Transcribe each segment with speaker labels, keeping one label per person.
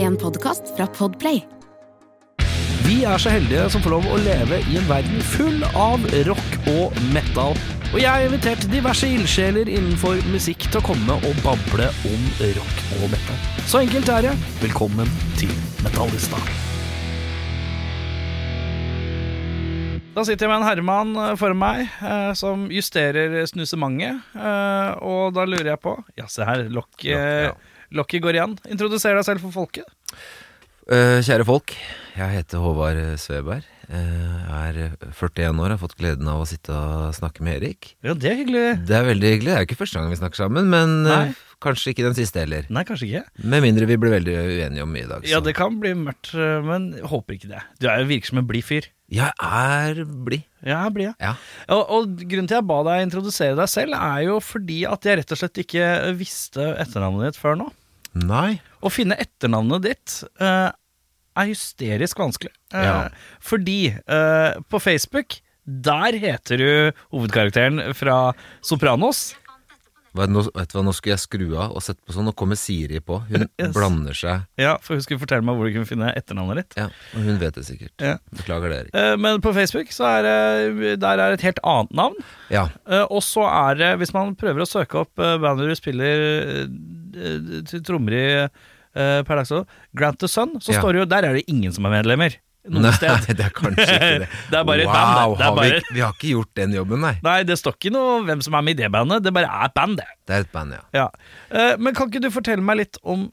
Speaker 1: En podkast fra Podplay.
Speaker 2: Vi er så heldige som får lov å leve i en verden full av rock og metal. Og jeg har invitert diverse ildsjeler innenfor musikk til å komme og bable om rock og metal. Så enkelt er det. Velkommen til Metallista. Da sitter jeg med en Herman eh, foran meg eh, som justerer snusemanget. Eh, og da lurer jeg på Ja, se her. Lokk, eh,
Speaker 3: Ja, ja.
Speaker 2: Lokket går igjen. Introduser deg selv for folket.
Speaker 3: Eh, kjære folk, jeg heter Håvard Sveberg. Jeg er 41 år, har fått gleden av å sitte og snakke med Erik.
Speaker 2: Ja, det er hyggelig.
Speaker 3: Det er veldig hyggelig. Det er jo ikke første gang vi snakker sammen, men eh,
Speaker 2: Nei.
Speaker 3: kanskje ikke den siste heller.
Speaker 2: Nei, kanskje ikke.
Speaker 3: Med mindre vi blir veldig uenige om mye i dag.
Speaker 2: Ja,
Speaker 3: så-
Speaker 2: det kan bli mørkt, eh, men jeg håper ikke det. Du er jo virker som en blid fyr.
Speaker 3: Jeg er blid.
Speaker 2: Ja, jeg blir jeg.
Speaker 3: Ja.
Speaker 2: Og, og grunnen til jeg ba deg introdusere deg selv, er jo fordi at jeg rett og slett ikke visste etternavnet ditt før nå.
Speaker 3: Nei.
Speaker 2: Å finne etternavnet ditt eh, er hysterisk vanskelig. Eh,
Speaker 3: Ja.
Speaker 2: Fordi eh, på Facebook, der heter du hovedkarakteren fra Sopranos.
Speaker 3: Hva, nå, vet du hva, nå skulle jeg skru av og sette på sånn. Nå kommer Siri på. Hun
Speaker 2: Yes.
Speaker 3: blander seg.
Speaker 2: Ja, for hun skulle fortelle meg hvor du kunne finne etternavnet ditt.
Speaker 3: Ja, og hun vet det sikkert.
Speaker 2: Ja.
Speaker 3: Beklager det, Erik.
Speaker 2: Eh, Men på Facebook så er det, der er et helt annet navn.
Speaker 3: Ja.
Speaker 2: Eh, Og så er det, hvis man prøver å søke opp eh, bandet du spiller eh, til trommer i eh, per dags dato, Grant the Sun, så
Speaker 3: Ja.
Speaker 2: står det jo Der er det ingen som er medlemmer. Noe
Speaker 3: Nei,
Speaker 2: sted.
Speaker 3: det er kanskje ikke det.
Speaker 2: Det er bare et
Speaker 3: wow,
Speaker 2: band, det. Det er
Speaker 3: har vi,
Speaker 2: bare-
Speaker 3: ikke- vi har ikke gjort den jobben, nei.
Speaker 2: Nei, det står ikke noe hvem som er med i det bandet, det bare er et band, det.
Speaker 3: Det er et band, ja.
Speaker 2: Ja. Eh, Men kan ikke du fortelle meg litt om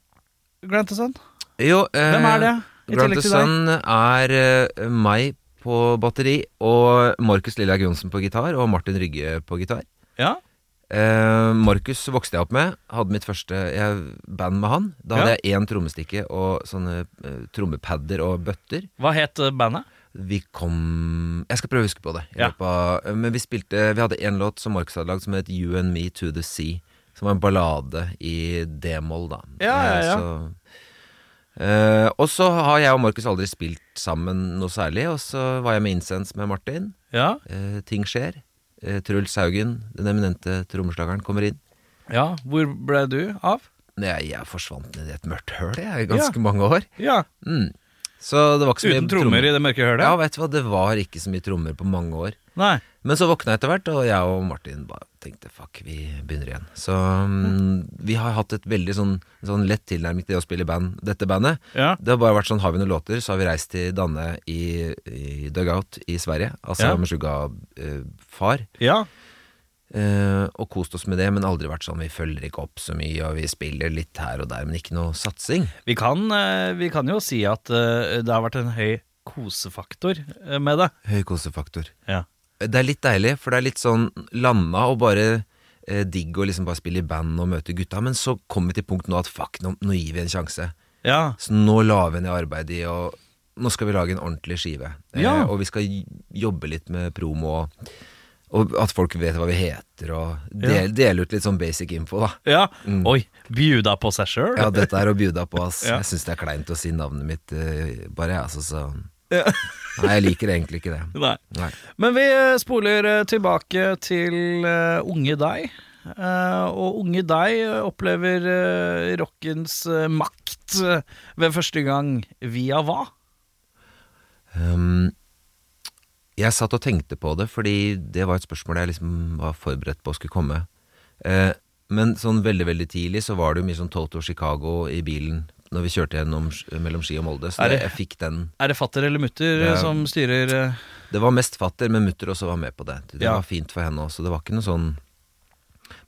Speaker 2: Grant the Sun?
Speaker 3: Jo, eh,
Speaker 2: Hvem er det? I
Speaker 3: Grant
Speaker 2: tillegg
Speaker 3: the
Speaker 2: til deg.
Speaker 3: Sun er eh, meg på batteri, og Markus Lillehaug Johnsen på gitar, og Martin Rygge på gitar.
Speaker 2: Ja.
Speaker 3: Eh, Markus vokste jeg opp med. Hadde mitt første jeg, band med han. Da hadde jeg én trommestikke og sånne eh, trommepadder og bøtter.
Speaker 2: Hva het eh, bandet?
Speaker 3: Vi kom Jeg skal prøve å huske på det. i
Speaker 2: Ja.
Speaker 3: løpet av- Men vi spilte Vi hadde én låt som Markus hadde lagd som het You and Me to the Sea. Som var en ballade i d-moll, da.
Speaker 2: Ja, ja,
Speaker 3: Eh,
Speaker 2: ja.
Speaker 3: Så, Eh, og så har jeg og Markus aldri spilt sammen noe særlig. Og så var jeg med Incense med Martin.
Speaker 2: Ja.
Speaker 3: Eh, ting skjer. Eh, Truls Haugen, den eminente trommeslageren, kommer inn.
Speaker 2: ja. Hvor ble du av?
Speaker 3: Nei, jeg forsvant ned i et mørkt høl jeg, i ganske mange år.
Speaker 2: Ja.
Speaker 3: Mm. Så det var ikke så mye
Speaker 2: Uten trommer i det mørke hølet?
Speaker 3: Ja, vet du hva, det var ikke så mye trommer på mange år.
Speaker 2: Nei.
Speaker 3: Men så våkna jeg etter hvert, og jeg og Martin bare tenkte fuck, vi begynner igjen. Så mm, vi har hatt et veldig sånn, sånn lett tilnærming til det å spille i band, dette bandet.
Speaker 2: Ja.
Speaker 3: Det har bare vært sånn, har vi noen låter, så har vi reist til Danne i, i Dugout i Sverige, altså
Speaker 2: Ja.
Speaker 3: ja. Meshuggah-far,
Speaker 2: ja.
Speaker 3: eh, og kost oss med det, men aldri vært sånn, vi følger ikke opp så mye, og vi spiller litt her og der, men ikke noe satsing.
Speaker 2: Vi kan, eh, vi kan jo si at eh, det har vært en høy kosefaktor eh, med det.
Speaker 3: Høy kosefaktor.
Speaker 2: Ja.
Speaker 3: Det er litt deilig, for det er litt sånn landa og bare eh, digg å liksom bare spille i band og møte gutta, men så kommer vi til punkt nå at fuck, nå, nå gir vi en sjanse.
Speaker 2: Ja,
Speaker 3: Så nå la vi ned arbeidet i, og nå skal vi lage en ordentlig skive. Eh,
Speaker 2: Ja.
Speaker 3: og vi skal j- jobbe litt med promo og, og at folk vet hva vi heter, og del, dele ut litt sånn basic info, da.
Speaker 2: ja. Oi, bjuda på seg sjøl?
Speaker 3: Ja, dette er å bjuda på, ass.
Speaker 2: Ja.
Speaker 3: Jeg syns det er kleint å si navnet mitt eh, bare, jeg, altså, så
Speaker 2: Ja.
Speaker 3: Nei, jeg liker egentlig ikke det.
Speaker 2: Nei.
Speaker 3: Nei.
Speaker 2: Men vi eh, spoler eh, tilbake til eh, unge deg. Eh, og unge deg eh, opplever eh, rockens eh, makt eh, ved første gang via hva?
Speaker 3: Ehm, jeg satt og tenkte på det, fordi det var et spørsmål jeg liksom var forberedt på skulle komme. Eh, men sånn veldig veldig tidlig så var det jo mye sånn Toto Chicago i bilen når vi kjørte gjennom Sk- mellom Ski og Molde. Så
Speaker 2: Er
Speaker 3: det,
Speaker 2: det-
Speaker 3: jeg fikk den.
Speaker 2: Er det fatter eller mutter
Speaker 3: Det
Speaker 2: eh,
Speaker 3: er-
Speaker 2: som styrer eh,
Speaker 3: Det var mest fatter, men mutter også var med på det. Det
Speaker 2: Ja.
Speaker 3: var fint for henne også. Det var ikke noe sånn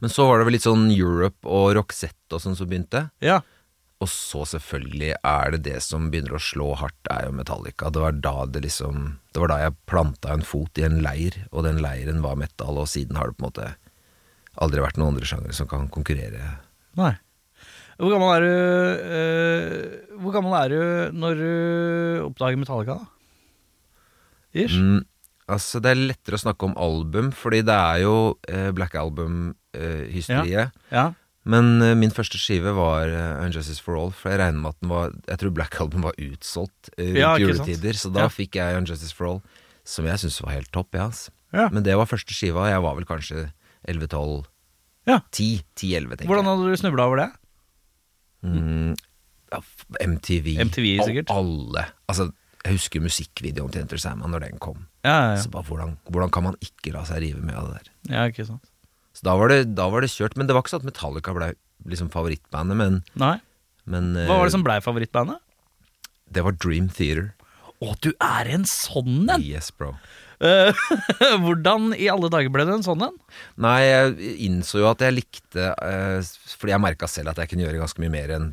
Speaker 3: Men så var det vel litt sånn Europe og Roxette og sånn som begynte.
Speaker 2: Ja.
Speaker 3: Og så selvfølgelig er det det som begynner å slå hardt, er jo Metallica. Det var da det liksom Det var da jeg planta en fot i en leir, og den leiren var metal, og siden har det på en måte aldri vært noen andre sjangere som kan konkurrere.
Speaker 2: Nei. Hvor gammel er du eh, Hvor gammel er du når du oppdager Metallica, da? Ish?
Speaker 3: Mm, altså, det er lettere å snakke om album, fordi det er jo eh, black album-hysteriet.
Speaker 2: Ja.
Speaker 3: Men eh, min første skive var eh, Unjustice for All, for jeg regner med at den var Jeg tror Black Album var utsolgt eh, rundt
Speaker 2: Ja, ikke sant?
Speaker 3: juletider, så da
Speaker 2: Ja.
Speaker 3: fikk jeg Unjustice for All, som jeg syntes var helt topp, ja, ass.
Speaker 2: Ja.
Speaker 3: Men det var første skiva, jeg var vel kanskje 11-12
Speaker 2: Ja.
Speaker 3: 10-11, tenker
Speaker 2: Hvordan hadde du snubla over det?
Speaker 3: jeg. Mm, ja, f- MTV,
Speaker 2: MTV
Speaker 3: og
Speaker 2: sikkert.
Speaker 3: alle. Altså, jeg husker musikkvideoen til Enter Sandman når den kom.
Speaker 2: Ja, ja,
Speaker 3: Så bare, hvordan, hvordan kan man ikke la seg rive med av det der?
Speaker 2: ja. ja ikke sant.
Speaker 3: Så da var det, da var det kjørt. Men det var ikke sånn at Metallica ble liksom favorittbandet, men,
Speaker 2: Nei.
Speaker 3: men eh,
Speaker 2: Hva var det som blei favorittbandet?
Speaker 3: det var Dream Theater.
Speaker 2: Å, du er en sånn en!
Speaker 3: Yes, bro.
Speaker 2: Eh, Hvordan i alle dager ble du en sånn en?
Speaker 3: Nei, jeg innså jo at jeg likte eh, Fordi jeg merka selv at jeg kunne gjøre ganske mye mer enn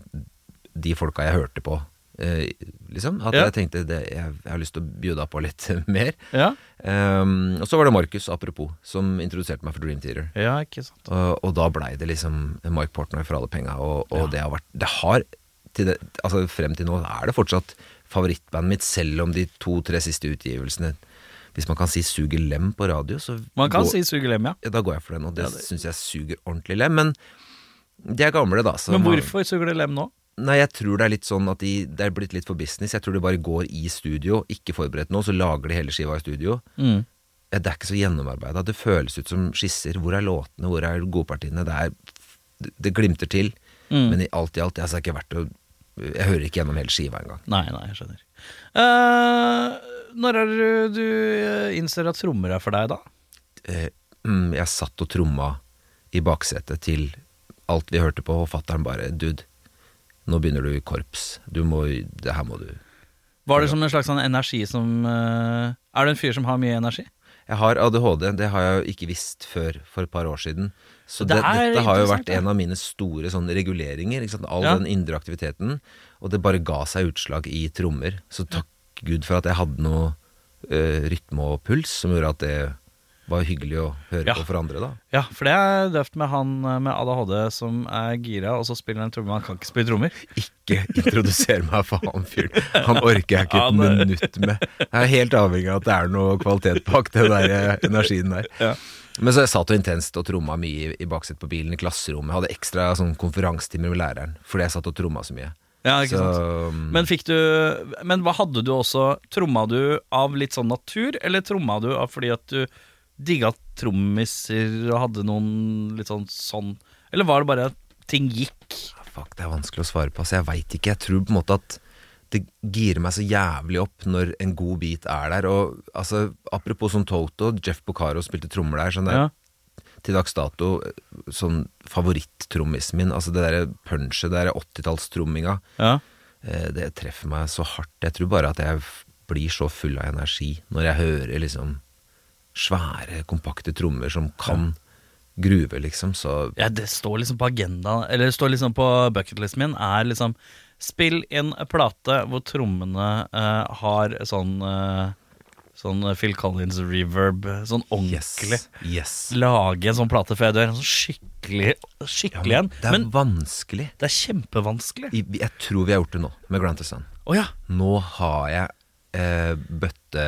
Speaker 3: de folka jeg hørte på. eh, liksom At
Speaker 2: Ja.
Speaker 3: jeg tenkte det, jeg, jeg har lyst til å bjuda på litt mer.
Speaker 2: Ja,
Speaker 3: Ehm, og så var det Markus, apropos, som introduserte meg for Dream Theater.
Speaker 2: ja ikke sant.
Speaker 3: Og, og da blei det liksom Mike Portnoy for alle penga, og, og det har vært Det har til det, altså Frem til nå er det fortsatt favorittbandet mitt, selv om de to-tre siste utgivelsene Hvis man kan si 'suger lem' på radio, så
Speaker 2: Man kan
Speaker 3: går-
Speaker 2: si sugelem, ja.
Speaker 3: ja, da går jeg for den, og det,
Speaker 2: Ja,
Speaker 3: synes
Speaker 2: det-
Speaker 3: syns jeg suger ordentlig lem. Men de er gamle, da. Så
Speaker 2: Men
Speaker 3: man-
Speaker 2: hvorfor suger det lem nå?
Speaker 3: Nei, jeg tror det er litt sånn at de, det er blitt litt for business. Jeg tror de bare går i studio, ikke forberedt nå, så lager de hele skiva i studio.
Speaker 2: Mm.
Speaker 3: Ja, Det er ikke så gjennomarbeida. Det føles ut som skisser. Hvor er låtene, hvor er godpartiene? Det, er, det glimter til.
Speaker 2: Mm.
Speaker 3: Men i alt i alt, altså, det er ikke verdt å Jeg hører ikke gjennom hele skiva engang.
Speaker 2: Nei, nei, jeg skjønner. Eh, når er det du eh, innser at trommer er for deg, da?
Speaker 3: Eh, mm, Jeg satt og tromma i baksetet til alt vi hørte på, og fatter'n bare Dude, nå begynner du i korps. Du må Det her må du
Speaker 2: Var det som en slags sånn energi som eh, Er du en fyr som har mye energi?
Speaker 3: Jeg har ADHD, det har jeg jo ikke visst før for et par år siden. Så
Speaker 2: Det
Speaker 3: det,
Speaker 2: er
Speaker 3: dette har jo
Speaker 2: interessant,
Speaker 3: vært
Speaker 2: ja.
Speaker 3: en av mine store sånne reguleringer. Ikke sant? All
Speaker 2: Ja.
Speaker 3: den indre aktiviteten. Og det bare ga seg utslag i trommer. Så takk Gud for at jeg hadde noe eh, rytme og puls som gjorde at det var hyggelig å høre
Speaker 2: Ja.
Speaker 3: på for andre, da.
Speaker 2: Ja, for det er døvt med han eh, med ADHD som er gira, og så spiller han trommer. Han kan ikke spille trommer.
Speaker 3: Ikke introduser meg for han fyren. Han orker jeg ikke et
Speaker 2: Han er-
Speaker 3: minutt med. Jeg er helt avhengig av at det er noe kvalitet bak den der eh, energien der.
Speaker 2: Ja.
Speaker 3: Men så jeg satt jo intenst og tromma mye i, i baksetet på bilen i klasserommet. Jeg hadde ekstra sånn konferansetimer med læreren fordi jeg satt og tromma så mye.
Speaker 2: Ja, ikke
Speaker 3: så, um,
Speaker 2: sant? Men fikk du Men hva hadde du også? Tromma du av litt sånn natur, eller tromma du av fordi at du digga trommiser og hadde noen litt sånn sånn Eller var det bare at ting gikk?
Speaker 3: Fuck, det er vanskelig å svare på. Altså, jeg veit ikke. Jeg tror på en måte at det girer meg så jævlig opp når en god beat er der. Og altså, apropos som Toto, Jeff Boccaro spilte trommer der. Sånn der
Speaker 2: Ja.
Speaker 3: til dags dato sånn favoritttrommisen min. Altså det derre punchet, det derre 80-tallstromminga,
Speaker 2: ja.
Speaker 3: eh, det treffer meg så hardt. Jeg tror bare at jeg f- blir så full av energi når jeg hører liksom svære, kompakte trommer som kan gruve, liksom. Så
Speaker 2: Ja, det står liksom på agendaen Eller det står liksom på bucketlisten min Er liksom Spill inn en plate hvor trommene eh, har sånn eh, Sånn Phil Collins reverb Sånn
Speaker 3: yes.
Speaker 2: ordentlig
Speaker 3: yes.
Speaker 2: Lage en sånn plate før jeg dør En sånn skikkelig
Speaker 3: Ja,
Speaker 2: Skikkelig
Speaker 3: men
Speaker 2: en
Speaker 3: det er
Speaker 2: Men
Speaker 3: vanskelig.
Speaker 2: det er kjempevanskelig
Speaker 3: I- Jeg tror vi har gjort det nå, med Grantesson.
Speaker 2: Åja
Speaker 3: Nå har jeg eh, bøtte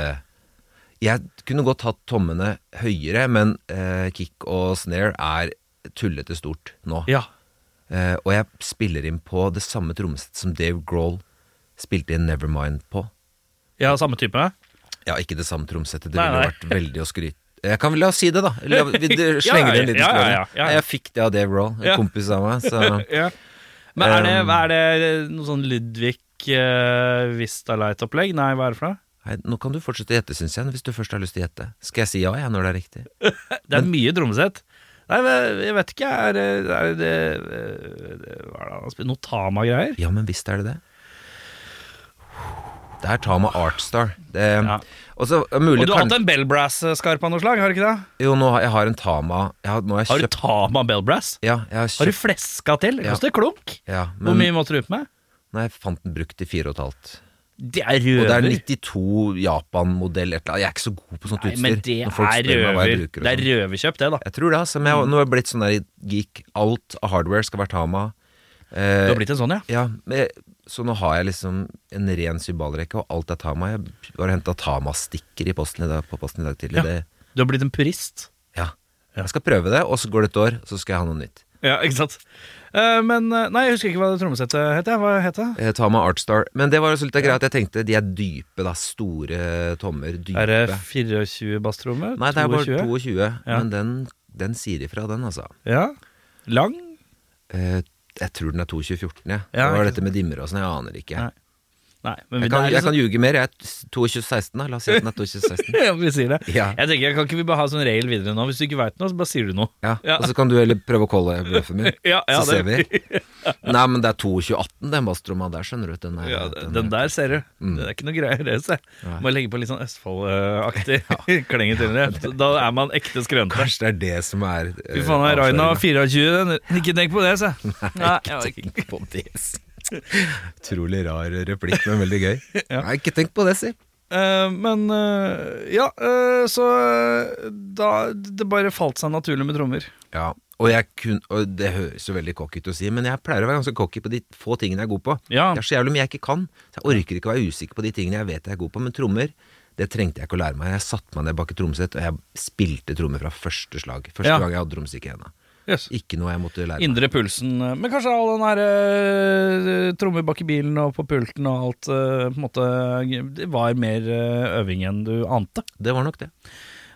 Speaker 3: Jeg kunne godt hatt tommene høyere, men eh, kick og snare er tullete stort nå.
Speaker 2: ja.
Speaker 3: Eh, og jeg spiller inn på det samme trommesettet som Dave Grohl spilte inn Nevermind på.
Speaker 2: ja, samme type
Speaker 3: Ja, ikke det samme trommesettet, det
Speaker 2: Nei,
Speaker 3: ville
Speaker 2: nei.
Speaker 3: jo vært veldig å skryte jeg kan vel la oss si det, da. La, vi d-
Speaker 2: Ja,
Speaker 3: slenger inn en liten
Speaker 2: ja, ja,
Speaker 3: spoiler.
Speaker 2: ja, ja, ja.
Speaker 3: Jeg fikk det av Dave Grohl, en
Speaker 2: Ja.
Speaker 3: kompis av meg. Så.
Speaker 2: Men er
Speaker 3: Um,
Speaker 2: det, hva er det noe sånn Ludvig uh, Vistalite opplegg? Nei, hva er det for noe?
Speaker 3: Nei, nå kan du fortsette å gjette, syns jeg, hvis du først har lyst til å gjette. Skal jeg si ja, jeg, når det er riktig?
Speaker 2: Det er mye trommesett. Nei, men jeg vet ikke. Er det, er det, er det Hva er det han spiller? Notama-greier?
Speaker 3: Ja, men visst er det det. Der tar man Artstar. Det,
Speaker 2: Ja.
Speaker 3: Og så er det mulig
Speaker 2: Og du har hatt
Speaker 3: kan,
Speaker 2: en Bellbrass-skarp av noe slag, har du ikke det?
Speaker 3: Jo, nå har jeg har en Tama jeg har, Nå har
Speaker 2: Har du
Speaker 3: jeg kjøpt
Speaker 2: Tama Bellbrass?
Speaker 3: Ja, jeg har
Speaker 2: Har du
Speaker 3: kjøpt
Speaker 2: fleska til? Det
Speaker 3: Ja.
Speaker 2: koster klunk.
Speaker 3: ja,
Speaker 2: Hvor
Speaker 3: men,
Speaker 2: mye måtte du ut med?
Speaker 3: Nei, jeg fant den brukt i fire og et halvt.
Speaker 2: Det er
Speaker 3: Og det er
Speaker 2: røver.
Speaker 3: 92 Japan-modell et eller annet. Jeg er ikke så god på sånt
Speaker 2: Nei,
Speaker 3: utstyr.
Speaker 2: men det
Speaker 3: når
Speaker 2: er
Speaker 3: folk spør meg hva jeg
Speaker 2: røver.
Speaker 3: bruker og
Speaker 2: Det er
Speaker 3: sånn.
Speaker 2: røverkjøp, det, da.
Speaker 3: Jeg tror det, altså. Men jeg, nå har jeg blitt sånn der geek. Alt av hardware skal være Tama.
Speaker 2: Du
Speaker 3: Eh,
Speaker 2: har blitt en sånn, ja.
Speaker 3: Ja, men, jeg- så nå har jeg liksom en ren symbalrekke, og alt er Tama. Jeg har henta Tama-stikker i posten i dag, på posten i dag tidlig.
Speaker 2: Ja.
Speaker 3: Det,
Speaker 2: Du har blitt en purist.
Speaker 3: ja.
Speaker 2: Ja.
Speaker 3: Jeg skal prøve det, og så går det et år, så skal jeg ha noe nytt.
Speaker 2: Ja, ikke sant. Eh, men eh, Nei, jeg husker ikke hva det trommesettet het. jeg. Hva het det?
Speaker 3: Eh, Tama Artstar. Men det var jo så litt av greia at jeg tenkte de er dype, da. Store tommer. Dype.
Speaker 2: Er det 24 basstrommer?
Speaker 3: Nei, det er bare
Speaker 2: 22?
Speaker 3: 22,
Speaker 2: Ja.
Speaker 3: men den, den sier ifra, den, altså.
Speaker 2: Ja. Lang?
Speaker 3: Eh, Jeg tror den er 22.14, jeg.
Speaker 2: Ja,
Speaker 3: det var
Speaker 2: ikke
Speaker 3: dette med dimmer og sånn, jeg aner ikke.
Speaker 2: Nei. Nei, men
Speaker 3: Jeg
Speaker 2: det
Speaker 3: kan,
Speaker 2: er liksom-
Speaker 3: jeg kan ljuge mer. Jeg er 22.16, da. La oss si at den er 22.16.
Speaker 2: Ja, vi sier det.
Speaker 3: Ja.
Speaker 2: Jeg tenker, Kan ikke vi bare ha sånn regel videre nå? Hvis du ikke veit noe, så bare sier du noe.
Speaker 3: Ja.
Speaker 2: Ja.
Speaker 3: Og så kan du heller prøve å calle bløffen min,
Speaker 2: Ja, ja,
Speaker 3: så ser vi.
Speaker 2: det-
Speaker 3: Nei, men det er 22.18, den Mastroma der, skjønner du. Den, Mm. er,
Speaker 2: Ja, den der ser du. Det er ikke noe greier, det. Se. Må legge på litt sånn Østfold-aktig klenge til det. Da er man ekte skrønte.
Speaker 3: Kanskje det er det som er eh,
Speaker 2: Fy faen, er Raina 24? den- Ikke tenk på det, se. Nei, jeg-
Speaker 3: Tenk på det, si. Utrolig rar replikk, men veldig gøy.
Speaker 2: Ja.
Speaker 3: Nei, ikke tenk på det, si.
Speaker 2: Eh, men eh, ja, eh, så eh, da Det bare falt seg naturlig med trommer.
Speaker 3: Ja, og, jeg kun, og det høres jo veldig cocky ut å si, men jeg pleier å være ganske cocky på de få tingene jeg er god på.
Speaker 2: Ja.
Speaker 3: Det er så jævlig mye jeg ikke kan. Så jeg orker ikke å være usikker på de tingene jeg vet jeg er god på, men trommer det trengte jeg ikke å lære meg. Jeg satte meg ned bak et trommesett, og jeg spilte trommer fra første slag. Første
Speaker 2: Ja.
Speaker 3: gang jeg hadde trommestykke i henda.
Speaker 2: Yes.
Speaker 3: Ikke noe jeg måtte lære meg.
Speaker 2: Indre pulsen. eh, Men kanskje all den her eh, trommer bak i bilen og på pulten og alt eh, på en måte Det var mer eh, øving enn du ante.
Speaker 3: Det var nok det.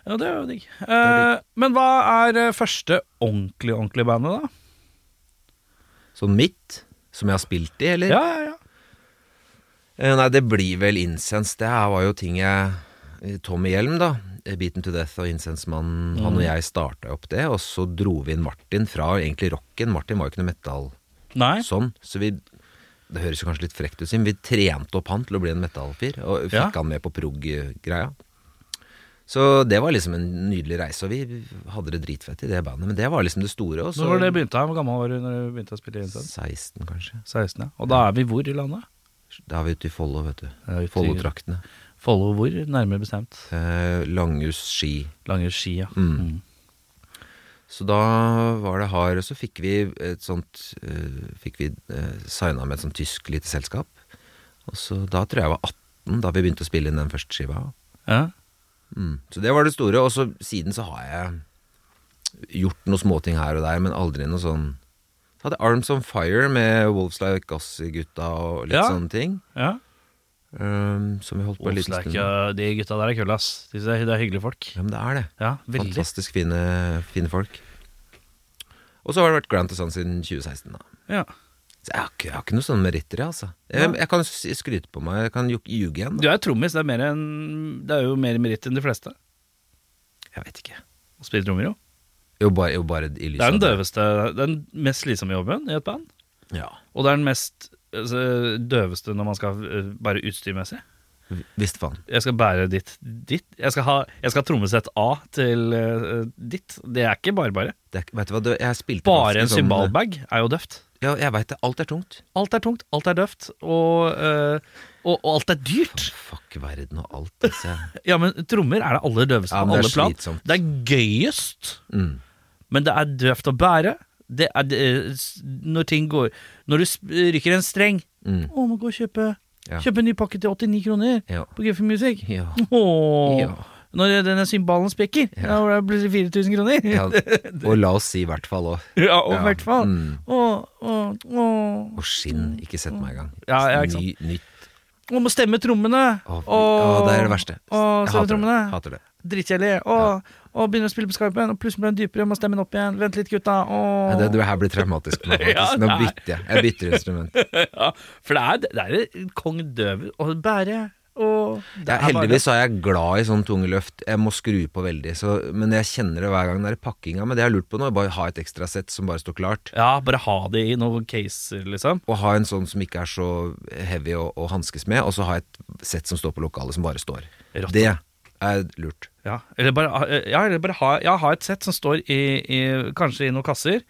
Speaker 2: Ja, det er jo digg.
Speaker 3: er
Speaker 2: Eh, Men hva er eh, første ordentlig ordentlig bandet, da?
Speaker 3: Sånn mitt, som jeg har spilt i, eller?
Speaker 2: Ja, ja, ja.
Speaker 3: Eh, Nei, det blir vel Incense. Det her var jo ting jeg Tommy Hjelm, da. eh, Beaten to Death og Incense-mannen. Han
Speaker 2: Mm.
Speaker 3: og jeg starta opp det, og så dro vi inn Martin fra egentlig rocken. Martin var jo ikke noe metal
Speaker 2: Nei?
Speaker 3: sånn, så vi Det høres jo kanskje litt frekt ut, siden vi trente opp han til å bli en metallfyr, og fikk
Speaker 2: Ja.
Speaker 3: han med på prog-greia. Så det var liksom en nydelig reise, og vi hadde det dritfett i det bandet. Men det var liksom det store. Og så
Speaker 2: Når var det begynte jeg? Hvor gammel var du når du begynte å spille inn?
Speaker 3: 16, kanskje.
Speaker 2: 16, ja. Og da er vi hvor i landet?
Speaker 3: Da er vi ute i Follo, vet du.
Speaker 2: Ja, ute i-
Speaker 3: Follo-traktene.
Speaker 2: Follo hvor, nærmere bestemt.
Speaker 3: Eh, Langhus ski.
Speaker 2: Lange Skia. Mm.
Speaker 3: Så da var det hard, og så fikk vi et sånt eh, Fikk vi eh, signa med et sånt tysk lite selskap. Og så da tror jeg jeg var 18 da vi begynte å spille inn den første skiva.
Speaker 2: Ja.
Speaker 3: Mm. Så det var det store, og så siden så har jeg gjort noen småting her og der, men aldri noe sånn Så hadde jeg Arms On Fire med Wolves Like Us-gutta og litt
Speaker 2: Ja.
Speaker 3: sånne ting.
Speaker 2: ja.
Speaker 3: ehm, som vi holdt på en liten stund.
Speaker 2: Osleik,
Speaker 3: Ja,
Speaker 2: ja, de gutta der er kule, ass. De- Det er, det er hyggelige folk.
Speaker 3: men det er det.
Speaker 2: Ja, veldig.
Speaker 3: Fantastisk fine, fine folk. Og så har det vært Grant og Sons siden 2016, da.
Speaker 2: Ja.
Speaker 3: Så jeg har ikke, jeg har ikke noe sånn meritter, jeg, altså. Jeg, jeg kan s- skryte på meg, jeg kan ju- ljuge igjen.
Speaker 2: Du
Speaker 3: Da.
Speaker 2: er trommis, det er, mer enn- det er jo mer meritt enn de fleste.
Speaker 3: Jeg vet ikke.
Speaker 2: Å spille trommer, jo.
Speaker 3: Jo, bare, jo, bare i lys
Speaker 2: Det er den
Speaker 3: av
Speaker 2: døveste, det er den mest slitsomme jobben i et band.
Speaker 3: Ja.
Speaker 2: Og det er den mest altså, døveste når man skal eh, bare utstyrmessig.
Speaker 3: V- Visst faen.
Speaker 2: Jeg skal bære ditt, ditt. Jeg skal ha, jeg skal ha trommesett A til eh, ditt. Det er ikke bare bare.
Speaker 3: Det er, ikke- vet du hva, det- jeg spilte
Speaker 2: Bare en
Speaker 3: faktisk sånn- eh,
Speaker 2: symbalbag er jo døvt.
Speaker 3: Ja, jeg veit det. Alt er tungt.
Speaker 2: Alt er tungt, alt er døvt, og, eh, og, og alt er dyrt.
Speaker 3: Fuck verden og alt, altså.
Speaker 2: Ja, men trommer er det aller døveste
Speaker 3: Ja,
Speaker 2: på
Speaker 3: men det er
Speaker 2: alle plan.
Speaker 3: slitsomt.
Speaker 2: Det er gøyest,
Speaker 3: Mm.
Speaker 2: men det er døvt å bære. Det er det- s- når ting går Når du sp- rykker en streng
Speaker 3: Mm.
Speaker 2: Å, må gå og kjøpe
Speaker 3: Ja.
Speaker 2: Kjøpe en ny pakke til 89 kroner
Speaker 3: Ja.
Speaker 2: på Guffy Music.
Speaker 3: Ja.
Speaker 2: Åh,
Speaker 3: Ja.
Speaker 2: Når denne cymbalen sprekker,
Speaker 3: Ja.
Speaker 2: ja. da blir det 4000 kroner.
Speaker 3: ja.
Speaker 2: Ja,
Speaker 3: Og la oss si i hvert fall òg.
Speaker 2: og i
Speaker 3: Ja.
Speaker 2: hvert fall.
Speaker 3: Mm.
Speaker 2: Åh, åh, åh.
Speaker 3: Og skinn. Ikke sett meg i gang.
Speaker 2: Ja, ja, ikke sant.
Speaker 3: Ny, nytt
Speaker 2: Å, må stemme trommene.
Speaker 3: Å,
Speaker 2: Åh.
Speaker 3: å, det er det verste.
Speaker 2: Åh,
Speaker 3: jeg
Speaker 2: stemme
Speaker 3: hater det.
Speaker 2: trommene.
Speaker 3: hater det.
Speaker 2: Drittkjedelig. Åh, åh, begynner å spille på skarpen, og plutselig blir den dypere, må stemme den opp igjen. Vent litt, gutta. Åh.
Speaker 3: Nei, det, det her blir traumatisk. Nå, faktisk.
Speaker 2: Ja,
Speaker 3: nå
Speaker 2: nei.
Speaker 3: bytter jeg. Jeg bytter instrument.
Speaker 2: Ja, for det er, det er en kong døver å bære. Og det
Speaker 3: Jeg,
Speaker 2: er bare-
Speaker 3: heldigvis så er jeg glad i sånn tunge løft. Jeg må skru på veldig, så, men jeg kjenner det hver gang det er pakkinga. Men det jeg har lurt på nå, er bare å ha et ekstra sett som bare står klart.
Speaker 2: Ja, bare ha det i noen caser, liksom.
Speaker 3: Og ha en sånn som ikke er så heavy å, å hanskes med, og så ha et sett som står på lokalet, som bare står.
Speaker 2: Rått.
Speaker 3: Det er lurt.
Speaker 2: Ja, eller bare, ha- ja, eller bare ha, ja, ha et sett som står i, i kanskje i noen kasser,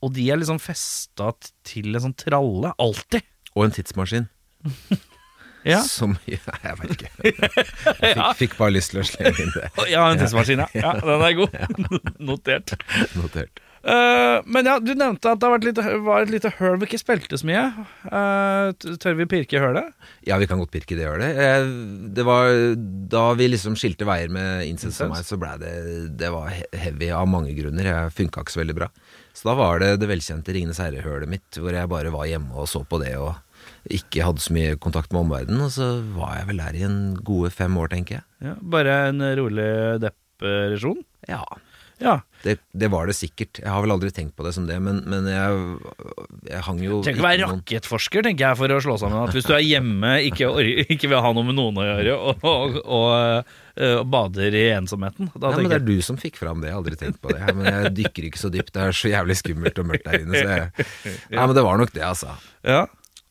Speaker 2: og de er liksom festa t- til en sånn tralle. Alltid.
Speaker 3: Og en tidsmaskin.
Speaker 2: Ja.
Speaker 3: Som Nei, jeg vet ikke. Jeg fikk, fikk bare lyst til å slenge inn det.
Speaker 2: ja, en tidsmaskin, ja. ja. Den er god. Notert.
Speaker 3: Notert.
Speaker 2: Eh, men ja, du nevnte at det har vært litt, var et lite høl vi ikke spilte så mye. Eh, t- tør vi pirke i hølet?
Speaker 3: Ja, vi kan godt pirke i det gjør det. Eh, Det var Da vi liksom skilte veier med Incense og meg, så ble det Det var he- heavy av mange grunner. Jeg funka ikke så veldig bra. Så da var det det velkjente Ringenes herre-hølet mitt, hvor jeg bare var hjemme og så på det og ikke hadde så mye kontakt med omverdenen. Og så var jeg vel der i en gode fem år, tenker jeg.
Speaker 2: Ja, bare en rolig depresjon?
Speaker 3: Ja.
Speaker 2: Ja.
Speaker 3: Det, det var det sikkert. Jeg har vel aldri tenkt på det som det, men, men jeg, jeg hang jo
Speaker 2: Trenger ikke være
Speaker 3: noen-
Speaker 2: rakettforsker, tenker jeg, for å slå sammen at hvis du er hjemme, ikke, or- ikke vil ha noe med noen å gjøre, og, og, og eh, bader i ensomheten da
Speaker 3: Nei, men
Speaker 2: tenker
Speaker 3: Det
Speaker 2: jeg,
Speaker 3: er du som fikk fram det, jeg har aldri tenkt på det. Men jeg dykker ikke så dypt, det er så jævlig skummelt og mørkt der inne. Så jeg, nei, men det var nok det, altså.
Speaker 2: ja.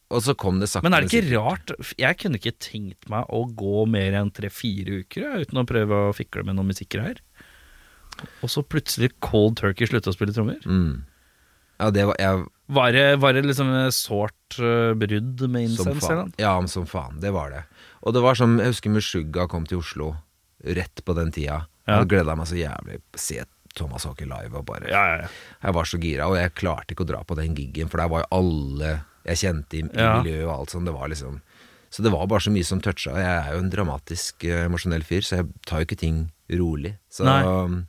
Speaker 3: Og så kom det sakte
Speaker 2: Men er det
Speaker 3: sikkert-
Speaker 2: ikke rart? Jeg kunne ikke tenkt meg å gå mer enn tre-fire uker jeg, uten å prøve å fikle med noen musikkgreier. Og så plutselig cold turkey slutte å spille trommer.
Speaker 3: mm. Ja, det var jeg,
Speaker 2: Var det, var det liksom et sårt eh, brudd med
Speaker 3: som
Speaker 2: incenseren?
Speaker 3: faen. Ja, men som faen. Det var det. Og det var som Jeg husker Meshuggah kom til Oslo rett på den tida.
Speaker 2: Ja.
Speaker 3: Jeg gleda meg så jævlig til å se Thomas Håke live, og bare
Speaker 2: Ja, ja, ja.
Speaker 3: Jeg var så gira, og jeg klarte ikke å dra på den giggen, for der var jo alle jeg kjente i, i
Speaker 2: Ja.
Speaker 3: miljøet og alt sånt. Det var liksom Så det var bare så mye som toucha. og Jeg er jo en dramatisk eh, emosjonell fyr, så jeg tar jo ikke ting rolig. Så, um,
Speaker 2: Nei.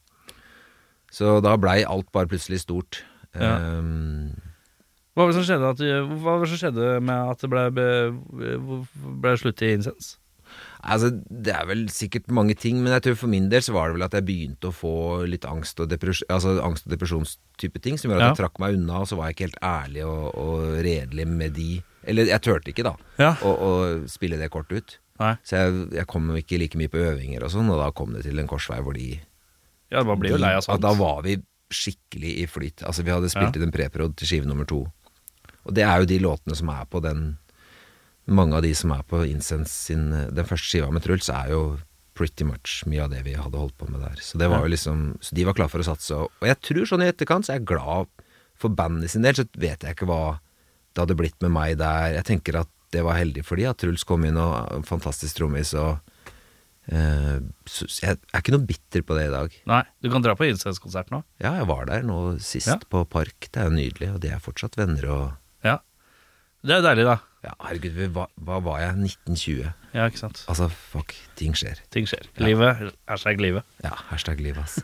Speaker 3: så da blei alt bare plutselig stort.
Speaker 2: Ja.
Speaker 3: Ehm,
Speaker 2: Hva var det som skjedde, at, du- hva var det som skjedde med at det ble, be- ble slutt i incens?
Speaker 3: Altså, Det er vel sikkert mange ting, men jeg tror for min del så var det vel at jeg begynte å få litt angst og, depress altså, angst og depresjonstype ting, som gjorde at
Speaker 2: Ja.
Speaker 3: jeg trakk meg unna, og så var jeg ikke helt ærlig og, og redelig med de Eller jeg turte ikke, da,
Speaker 2: Ja.
Speaker 3: å, å spille det kortet ut.
Speaker 2: Nei.
Speaker 3: Så jeg, jeg kom jo ikke like mye på øvinger og sånn, og da kom det til en korsvei hvor de
Speaker 2: Ja, man blir jo lei av
Speaker 3: de-
Speaker 2: sånt.
Speaker 3: Da var vi skikkelig i flyt. Altså, vi hadde spilt
Speaker 2: Ja.
Speaker 3: inn en preprod til skive nummer to. Og det er jo de låtene som er på den Mange av de som er på Incense sin eh, Den første skiva med Truls, er jo pretty much mye av det vi hadde holdt på med der. Så det var jo liksom Så de var klare for å satse. Og og jeg tror sånn i etterkant så er jeg glad for bandet sin del, så vet jeg ikke hva det hadde blitt med meg der. Jeg tenker at det var heldig for de at Truls kom inn og er en fantastisk trommis og eh, så så jeg er ikke noe bitter på det i dag.
Speaker 2: Nei, du kan dra på incens-konsert nå.
Speaker 3: Ja, jeg var der nå sist
Speaker 2: Ja.
Speaker 3: på Park. Det er jo nydelig, og de er fortsatt venner og
Speaker 2: Ja. Det er jo deilig, da.
Speaker 3: ja, Herregud, vi var- hva var jeg? 1920?
Speaker 2: Ja, ikke sant.
Speaker 3: Altså, fuck, ting skjer.
Speaker 2: Ting skjer. Livet er seg livet.
Speaker 3: Ja, hashtag liv, ass.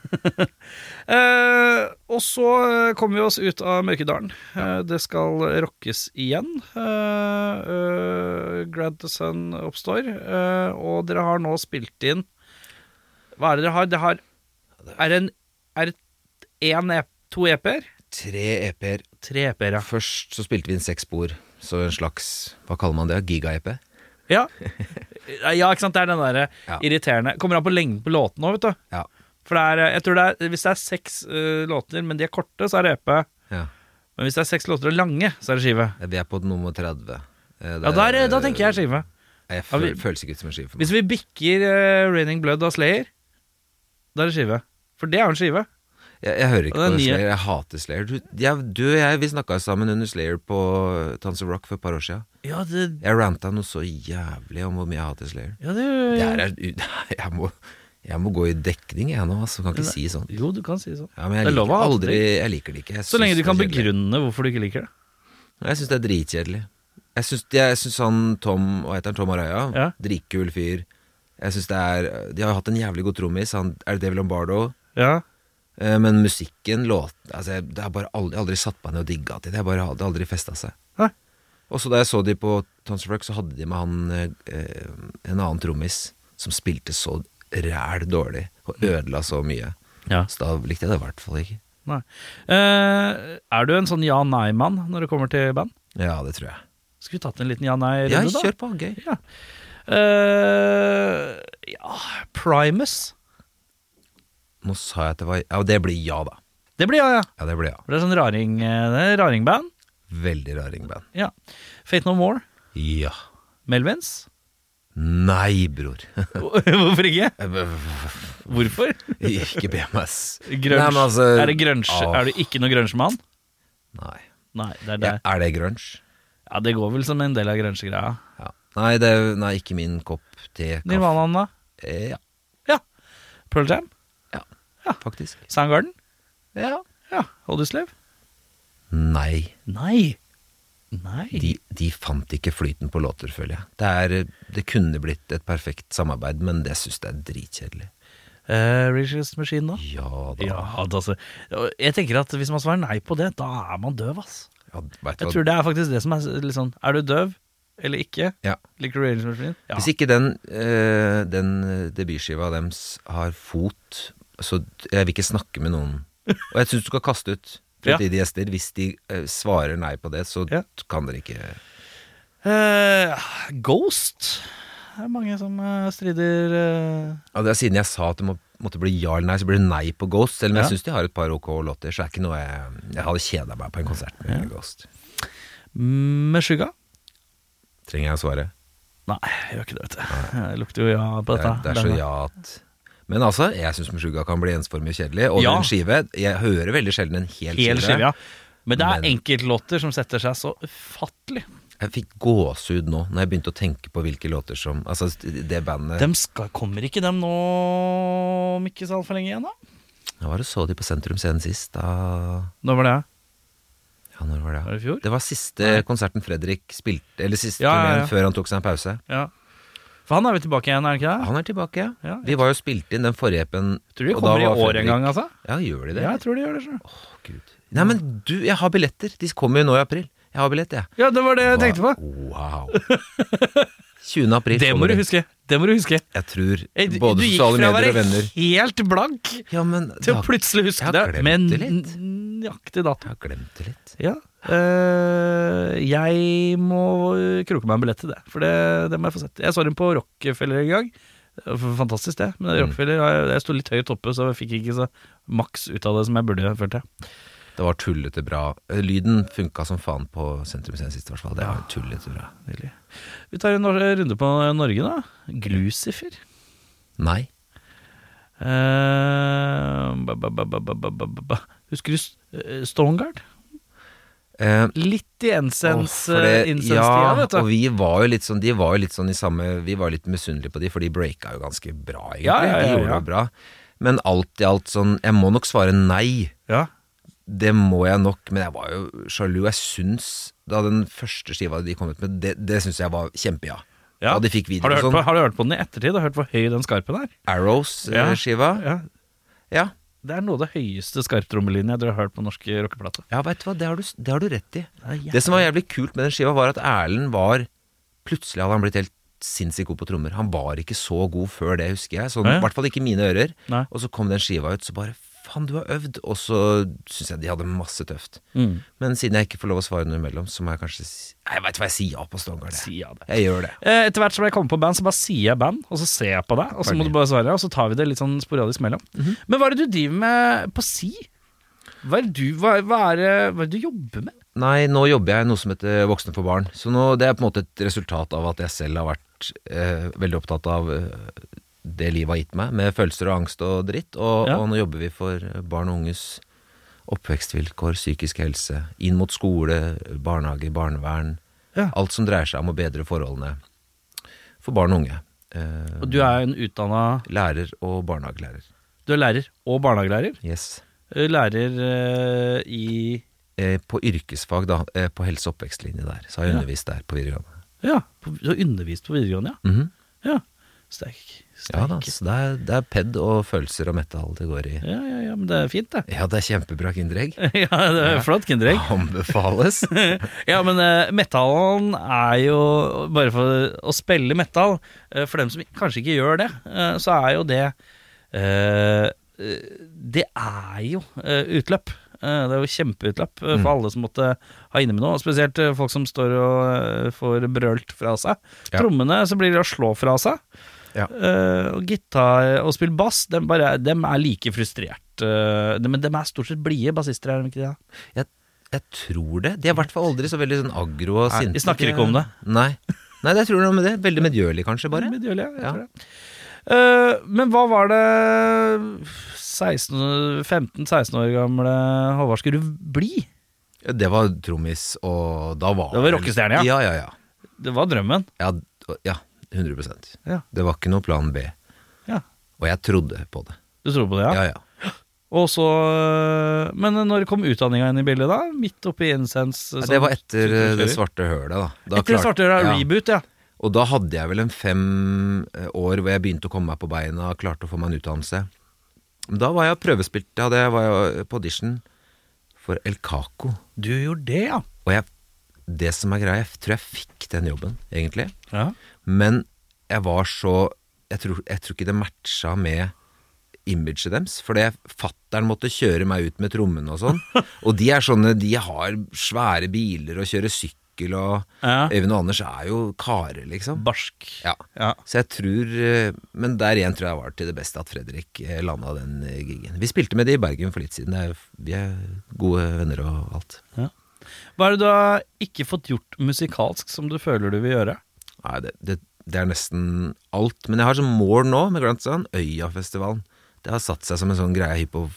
Speaker 2: Eh, og så eh, kommer vi oss ut av Mørkedalen. Eh, det skal rockes igjen. Eh, eh, Grad the Sun oppstår. Eh, og dere har nå spilt inn Hva er det dere har? Det har Er det en Er det en ep, to EP-er?
Speaker 3: Tre EP-er.
Speaker 2: Tre EP-er, ja.
Speaker 3: Først så spilte vi inn seks spor, så en slags Hva kaller man det? Giga-EP?
Speaker 2: ja. Ja, ikke sant. Det er den derre
Speaker 3: Ja.
Speaker 2: irriterende Kommer an på lengden på låten nå, vet du.
Speaker 3: Ja.
Speaker 2: For det er, eh, jeg tror det er, Hvis det er seks eh, låter, men de er korte, så er det EP.
Speaker 3: ja.
Speaker 2: Men hvis det er seks låter og lange, så er det skive.
Speaker 3: Vi er på nummer 30. Eh,
Speaker 2: Ja,
Speaker 3: det
Speaker 2: da, er, det- da tenker jeg skive.
Speaker 3: Jeg
Speaker 2: Ja,
Speaker 3: føl,
Speaker 2: vi-
Speaker 3: føles ikke ut som en skive for meg.
Speaker 2: Hvis vi bikker eh, Raining Blood av Slayer, da er det skive. For det er jo en skive.
Speaker 3: Jeg, jeg hører ikke
Speaker 2: Og det er
Speaker 3: på
Speaker 2: nye.
Speaker 3: Slayer. Jeg hater Slayer. Du, jeg, du og jeg, vi snakka sammen under Slayer på Tons of Rock for et par år sia.
Speaker 2: Ja, det,
Speaker 3: Jeg ranta noe så jævlig om hvor mye jeg hater Slayer.
Speaker 2: ja, det,
Speaker 3: Det her er, jeg, må, jeg må gå i dekning, jeg nå. Altså. Kan ikke si sånn.
Speaker 2: Jo, du kan si det sånn.
Speaker 3: Ja, men
Speaker 2: Det
Speaker 3: jeg
Speaker 2: er lov å
Speaker 3: liker,
Speaker 2: ha
Speaker 3: aldri,
Speaker 2: alltid.
Speaker 3: jeg liker det ikke. Jeg
Speaker 2: Så lenge
Speaker 3: syns
Speaker 2: du kan
Speaker 3: det er kjedelig.
Speaker 2: begrunne hvorfor du ikke liker det.
Speaker 3: Jeg syns det er dritkjedelig. Jeg syns, jeg syns han Tom Hva heter han? Tom Araya?
Speaker 2: Ja.
Speaker 3: Dritkul fyr. Jeg syns det er De har jo hatt en jævlig god trommis. Han er det Dave Lombardo.
Speaker 2: Ja,
Speaker 3: Eh, Men musikken, låt altså, jeg, Det har bare aldri, aldri satt meg ned og digga til det. Jeg bare hadde aldri festa seg.
Speaker 2: Nei.
Speaker 3: Og så da jeg så de på Tons of Rock, så hadde de med han eh, eh, en annen trommis som spilte så ræl dårlig og ødela så mye.
Speaker 2: Ja.
Speaker 3: Så da likte jeg det i hvert fall ikke.
Speaker 2: nei Eh, Er du en sånn ja-nei-mann når det kommer til band?
Speaker 3: Ja, det tror jeg.
Speaker 2: Skulle vi tatt en liten ja-nei-runde,
Speaker 3: Ja,
Speaker 2: da?
Speaker 3: kjør på. Gøy.
Speaker 2: Ja. Eh, ja Primus.
Speaker 3: Nå sa jeg at det var Ja, det blir ja, da.
Speaker 2: Det blir ja, ja.
Speaker 3: Ja, det blir ja.
Speaker 2: Det er sånn raring, eh, det er raringband.
Speaker 3: Veldig raring band.
Speaker 2: Ja. Fate No More.
Speaker 3: Ja.
Speaker 2: Melvins.
Speaker 3: Nei, bror.
Speaker 2: Hvorfor ikke? Hvorfor?
Speaker 3: ikke be meg, ass.
Speaker 2: Grunge.
Speaker 3: Nei, men altså-
Speaker 2: er det grunge?
Speaker 3: Åh,
Speaker 2: Er du ikke noe grunge-mann?
Speaker 3: Nei.
Speaker 2: Nei, det er det.
Speaker 3: Ja, er det grunge?
Speaker 2: Ja, det går vel som en del av grunge-greia.
Speaker 3: Ja. Nei, det er, nei, ikke min kopp te. Kaffe.
Speaker 2: Nirvana, da?
Speaker 3: Eh, ja.
Speaker 2: Ja. Pearl Jam?
Speaker 3: faktisk.
Speaker 2: Soundgarden?
Speaker 3: Ja.
Speaker 2: Ja. Oldislev?
Speaker 3: Nei,
Speaker 2: Nei. Nei.
Speaker 3: de, de fant ikke flyten på låter, føler jeg. Det, er, det kunne blitt et perfekt samarbeid, men det syns jeg er dritkjedelig.
Speaker 2: Eh, Richest Machine, da?
Speaker 3: Ja da.
Speaker 2: Ja, altså. Jeg tenker at hvis man svarer nei på det, da er man døv, ass.
Speaker 3: Ja, vet du
Speaker 2: Jeg
Speaker 3: hva?
Speaker 2: tror det er faktisk det som er litt sånn Er du døv eller ikke?
Speaker 3: Ja.
Speaker 2: Liker du Rangers Machine? Ja.
Speaker 3: Hvis ikke den, eh, den eh, debutskiva deres har fot Så jeg vil ikke snakke med noen. Og jeg syns du skal kaste ut fremtidige gjester. Hvis de eh, svarer nei på det, så
Speaker 2: Ja.
Speaker 3: kan dere ikke
Speaker 2: Eh, Ghost. Det er mange som eh, strider eh,
Speaker 3: Ja, det er Siden jeg sa at det må, måtte bli ja eller nei, så blir det nei på Ghost. Selv om
Speaker 2: Ja.
Speaker 3: jeg syns de har et par ok låter, så er det ikke noe jeg, jeg hadde kjeda meg på en konsert med Ghost.
Speaker 2: med skygga.
Speaker 3: Trenger jeg å svare?
Speaker 2: Nei, jeg gjør ikke det, vet du. Det lukter jo ja på
Speaker 3: Det
Speaker 2: dette.
Speaker 3: er, det er så
Speaker 2: Denne.
Speaker 3: ja at Men altså, jeg syns Meshuggah kan bli ensformig og kjedelig. Og
Speaker 2: Ja.
Speaker 3: en skive Jeg hører veldig sjelden en hel,
Speaker 2: Hel skive, ja. Men det er
Speaker 3: Men-
Speaker 2: enkeltlåter som setter seg så ufattelig.
Speaker 3: Jeg fikk gåsehud nå når jeg begynte å tenke på hvilke låter som Altså, det bandet
Speaker 2: Dem skal, kommer ikke dem nå om ikke så altfor lenge igjen, da?
Speaker 3: Hva var det så de på Sentrum Scene sist? Da
Speaker 2: Når var det?
Speaker 3: Ja, når var det?
Speaker 2: Var det i fjor?
Speaker 3: Det var siste konserten Fredrik spilte Eller siste
Speaker 2: Ja, ja, ja.
Speaker 3: turneen før han tok seg en pause.
Speaker 2: Ja. For han er vel tilbake igjen, er han ikke det?
Speaker 3: Han er tilbake, ja.
Speaker 2: Ja,
Speaker 3: Vi var jo spilt inn den forrige epen
Speaker 2: Tror de
Speaker 3: og da
Speaker 2: kommer i
Speaker 3: var
Speaker 2: år
Speaker 3: Fredrik-
Speaker 2: en gang, altså?
Speaker 3: Ja, gjør de det?
Speaker 2: Ja, jeg tror de gjør det. Så.
Speaker 3: Åh, Gud. Nei, men du, jeg har billetter. De kommer jo nå i april. Jeg har billett, jeg.
Speaker 2: Ja, det var det jeg tenkte på.
Speaker 3: Wow. 20. april.
Speaker 2: Det må
Speaker 3: kommer
Speaker 2: du
Speaker 3: de.
Speaker 2: huske. Det må du huske.
Speaker 3: Jeg tror
Speaker 2: Eh, du-
Speaker 3: sånn- både
Speaker 2: du gikk fra å
Speaker 3: sosiale medier og
Speaker 2: være
Speaker 3: venner
Speaker 2: Helt blank
Speaker 3: Ja, men
Speaker 2: til
Speaker 3: jeg
Speaker 2: å
Speaker 3: har-
Speaker 2: plutselig huske
Speaker 3: jeg
Speaker 2: det
Speaker 3: har glemt
Speaker 2: med
Speaker 3: det litt.
Speaker 2: nøyaktig dato.
Speaker 3: Jeg har glemt det litt.
Speaker 2: Ja. eh, jeg må kroke meg en billett til det, for det, det må jeg få sett. Jeg så dem på Rockefeller en gang. Fantastisk, det.
Speaker 3: Mm.
Speaker 2: Men Rockefeller jeg, jeg sto litt høyt oppe, så jeg fikk ikke så maks ut av det som jeg burde, følte jeg.
Speaker 3: Det var tullete bra. Eh, Lyden funka som faen på Sentrum Scene sist, i hvert fall. Det var tullete bra.
Speaker 2: Nydelig. Vi tar en nor- runde på Norge, da. Glucifer.
Speaker 3: Nei.
Speaker 2: Eh, ba, ba, ba, ba, ba, ba, ba, ba. Husker du S- eh, Stoneguard?
Speaker 3: Eh,
Speaker 2: Litt i incense-
Speaker 3: Åh, for det-
Speaker 2: eh, incense-tida,
Speaker 3: ja,
Speaker 2: vet du.
Speaker 3: Og vi var jo litt sånn, de var jo litt sånn i samme Vi var litt misunnelige på de, for de breaka jo ganske bra, egentlig.
Speaker 2: Ja, ja, ja,
Speaker 3: de gjorde
Speaker 2: ja.
Speaker 3: det bra. Men alt i alt sånn Jeg må nok svare nei.
Speaker 2: ja.
Speaker 3: Det må jeg nok, men jeg var jo sjalu. Jeg syns da den første skiva de kom ut med, det, det syns jeg var kjempeja.
Speaker 2: Ja.
Speaker 3: Da de fikk
Speaker 2: Har,
Speaker 3: video
Speaker 2: du
Speaker 3: og
Speaker 2: hørt på,
Speaker 3: sånn.
Speaker 2: har du hørt på den i ettertid? Har du hørt hvor høy den skarpen er? Ja.
Speaker 3: Arrows-skiva.
Speaker 2: Ja.
Speaker 3: Ja. eh, ja.
Speaker 2: Det er noe av det høyeste skarptrommelinjen jeg tror jeg har hørt på norsk rockeplate.
Speaker 3: vet du hva, det har du, det har du rett i.
Speaker 2: Det er jævlig-
Speaker 3: Det som var jævlig kult med den skiva, var at Erlend var Plutselig hadde han blitt helt sinnssykt god på trommer. Han var ikke så god før det, husker jeg. Sånn,
Speaker 2: Nei.
Speaker 3: I hvert fall ikke i mine ører.
Speaker 2: Nei.
Speaker 3: Og så kom den skiva ut, så bare Faen, du har øvd! Og så syns jeg de hadde masse tøft.
Speaker 2: Mm.
Speaker 3: Men siden jeg ikke får lov å svare noe imellom, så må jeg kanskje si Nei, Jeg veit hva jeg sier ja på Stongard.
Speaker 2: Si ja, det.
Speaker 3: Jeg gjør det.
Speaker 2: Eh, Etter hvert som jeg kommer på band, så bare sier jeg band, og så ser jeg på deg, og så må
Speaker 3: Ferdig.
Speaker 2: du bare svare, og så tar vi det litt sånn sporadisk mellom.
Speaker 3: Mhm.
Speaker 2: Men hva er det du driver med på si? Hva er det du, hva, hva er, det- hva er det du jobber med?
Speaker 3: Nei, nå jobber jeg i noe som heter Voksne for barn. Så nå, det er på en måte et resultat av at jeg selv har vært eh, veldig opptatt av eh, det livet har gitt meg, med følelser og angst og dritt. Og,
Speaker 2: Ja.
Speaker 3: og nå jobber vi for barn og unges oppvekstvilkår, psykisk helse, inn mot skole, barnehage, barnevern.
Speaker 2: Ja.
Speaker 3: Alt som dreier seg om å bedre forholdene for barn og unge. Eh,
Speaker 2: Og du er en utdanna
Speaker 3: lærer og barnehagelærer.
Speaker 2: Du er lærer og barnehagelærer.
Speaker 3: Yes.
Speaker 2: Eh, Lærer eh, i
Speaker 3: Eh, på yrkesfag, da, eh, på helse- og oppvekstlinje der. Så har jeg
Speaker 2: Ja.
Speaker 3: undervist der på videregående.
Speaker 2: Ja, på, du har undervist på videregående, ja.
Speaker 3: Mhm.
Speaker 2: ja. Sterk. sterk.
Speaker 3: Ja da, så det er, det er ped og følelser og metal det går i.
Speaker 2: Ja, ja, ja, men det er fint, det.
Speaker 3: Ja, det er kjempebra kinderegg.
Speaker 2: ja, det er flott kinderegg.
Speaker 3: Anbefales.
Speaker 2: Ja, men uh, metallen er jo Bare for å spille metal, eh, for dem som kanskje ikke gjør det, eh, så er jo det eh, eh, Det er jo eh, utløp. Eh, det er jo kjempeutløp eh, for alle som måtte ha inne med noe. og Spesielt eh, folk som står og eh, får brølt fra seg.
Speaker 3: Ja.
Speaker 2: Trommene så blir det å slå fra seg.
Speaker 3: Ja.
Speaker 2: Eh, og gitar og spille bass, dem, bare, dem er like frustrert. eh, men dem er stort sett blide bassister, er de ikke det?
Speaker 3: Jeg, jeg tror det. De er i hvert fall aldri så veldig sånn aggro og
Speaker 2: Nei,
Speaker 3: sinte.
Speaker 2: vi snakker
Speaker 3: De er-
Speaker 2: ikke om det.
Speaker 3: Nei. Nei, det tror jeg noe med det. Veldig medgjørlig kanskje, bare.
Speaker 2: Medgjørlig, ja. jeg
Speaker 3: Ja.
Speaker 2: tror det. Eh, men hva var det 16 15-16 år gamle Håvard skulle bli?
Speaker 3: Ja, Det var trommis, og da var
Speaker 2: Det var rockestjerne, ja.
Speaker 3: Ja, ja, ja.
Speaker 2: Det var drømmen.
Speaker 3: Ja, d- ja 100
Speaker 2: Ja.
Speaker 3: Det var ikke noe plan B.
Speaker 2: Ja.
Speaker 3: Og jeg trodde på det.
Speaker 2: Du tror på det, ja?
Speaker 3: Ja, ja.
Speaker 2: Og så eh, Men når kom utdanninga inn i bildet, da? Midt oppi Incense?
Speaker 3: ja
Speaker 2: som
Speaker 3: det var etter eh,
Speaker 2: tusenårskjører.
Speaker 3: det svarte hølet, da. da
Speaker 2: sånn Etter det
Speaker 3: klarte-
Speaker 2: svarte øret er
Speaker 3: Ja.
Speaker 2: reboot, ja.
Speaker 3: Og da hadde jeg vel en fem eh, år hvor jeg begynte å komme meg på beina, klarte å få meg en utdannelse. Men Da var jeg prøvespilt, da hadde jeg, var jeg på audition for El Caco.
Speaker 2: Du gjorde det, ja.
Speaker 3: Og jeg, det som er greia, jeg tror jeg fikk den jobben, egentlig.
Speaker 2: ja.
Speaker 3: Men jeg var så Jeg tror, jeg tror ikke det matcha med imaget deres. Fordi fattern måtte kjøre meg ut med trommene og sånn. Og de er sånne De har svære biler og kjører sykkel og
Speaker 2: Ja.
Speaker 3: Øyvind og Anders er jo karer, liksom.
Speaker 2: Barsk.
Speaker 3: Eh, Ja.
Speaker 2: Ja.
Speaker 3: Så jeg tror eh, Men der igjen tror jeg var til det beste at Fredrik eh, landa den eh, gigen. Vi spilte med de i Bergen for litt siden. Det er jo- Vi er gode venner og alt.
Speaker 2: Hva er det du har ikke fått gjort musikalsk som du føler du vil gjøre?
Speaker 3: Nei, det, det, det er nesten alt. Men jeg har som mål nå med Grantstrand, Øyafestivalen. Det har satt seg som en sånn greie hypp på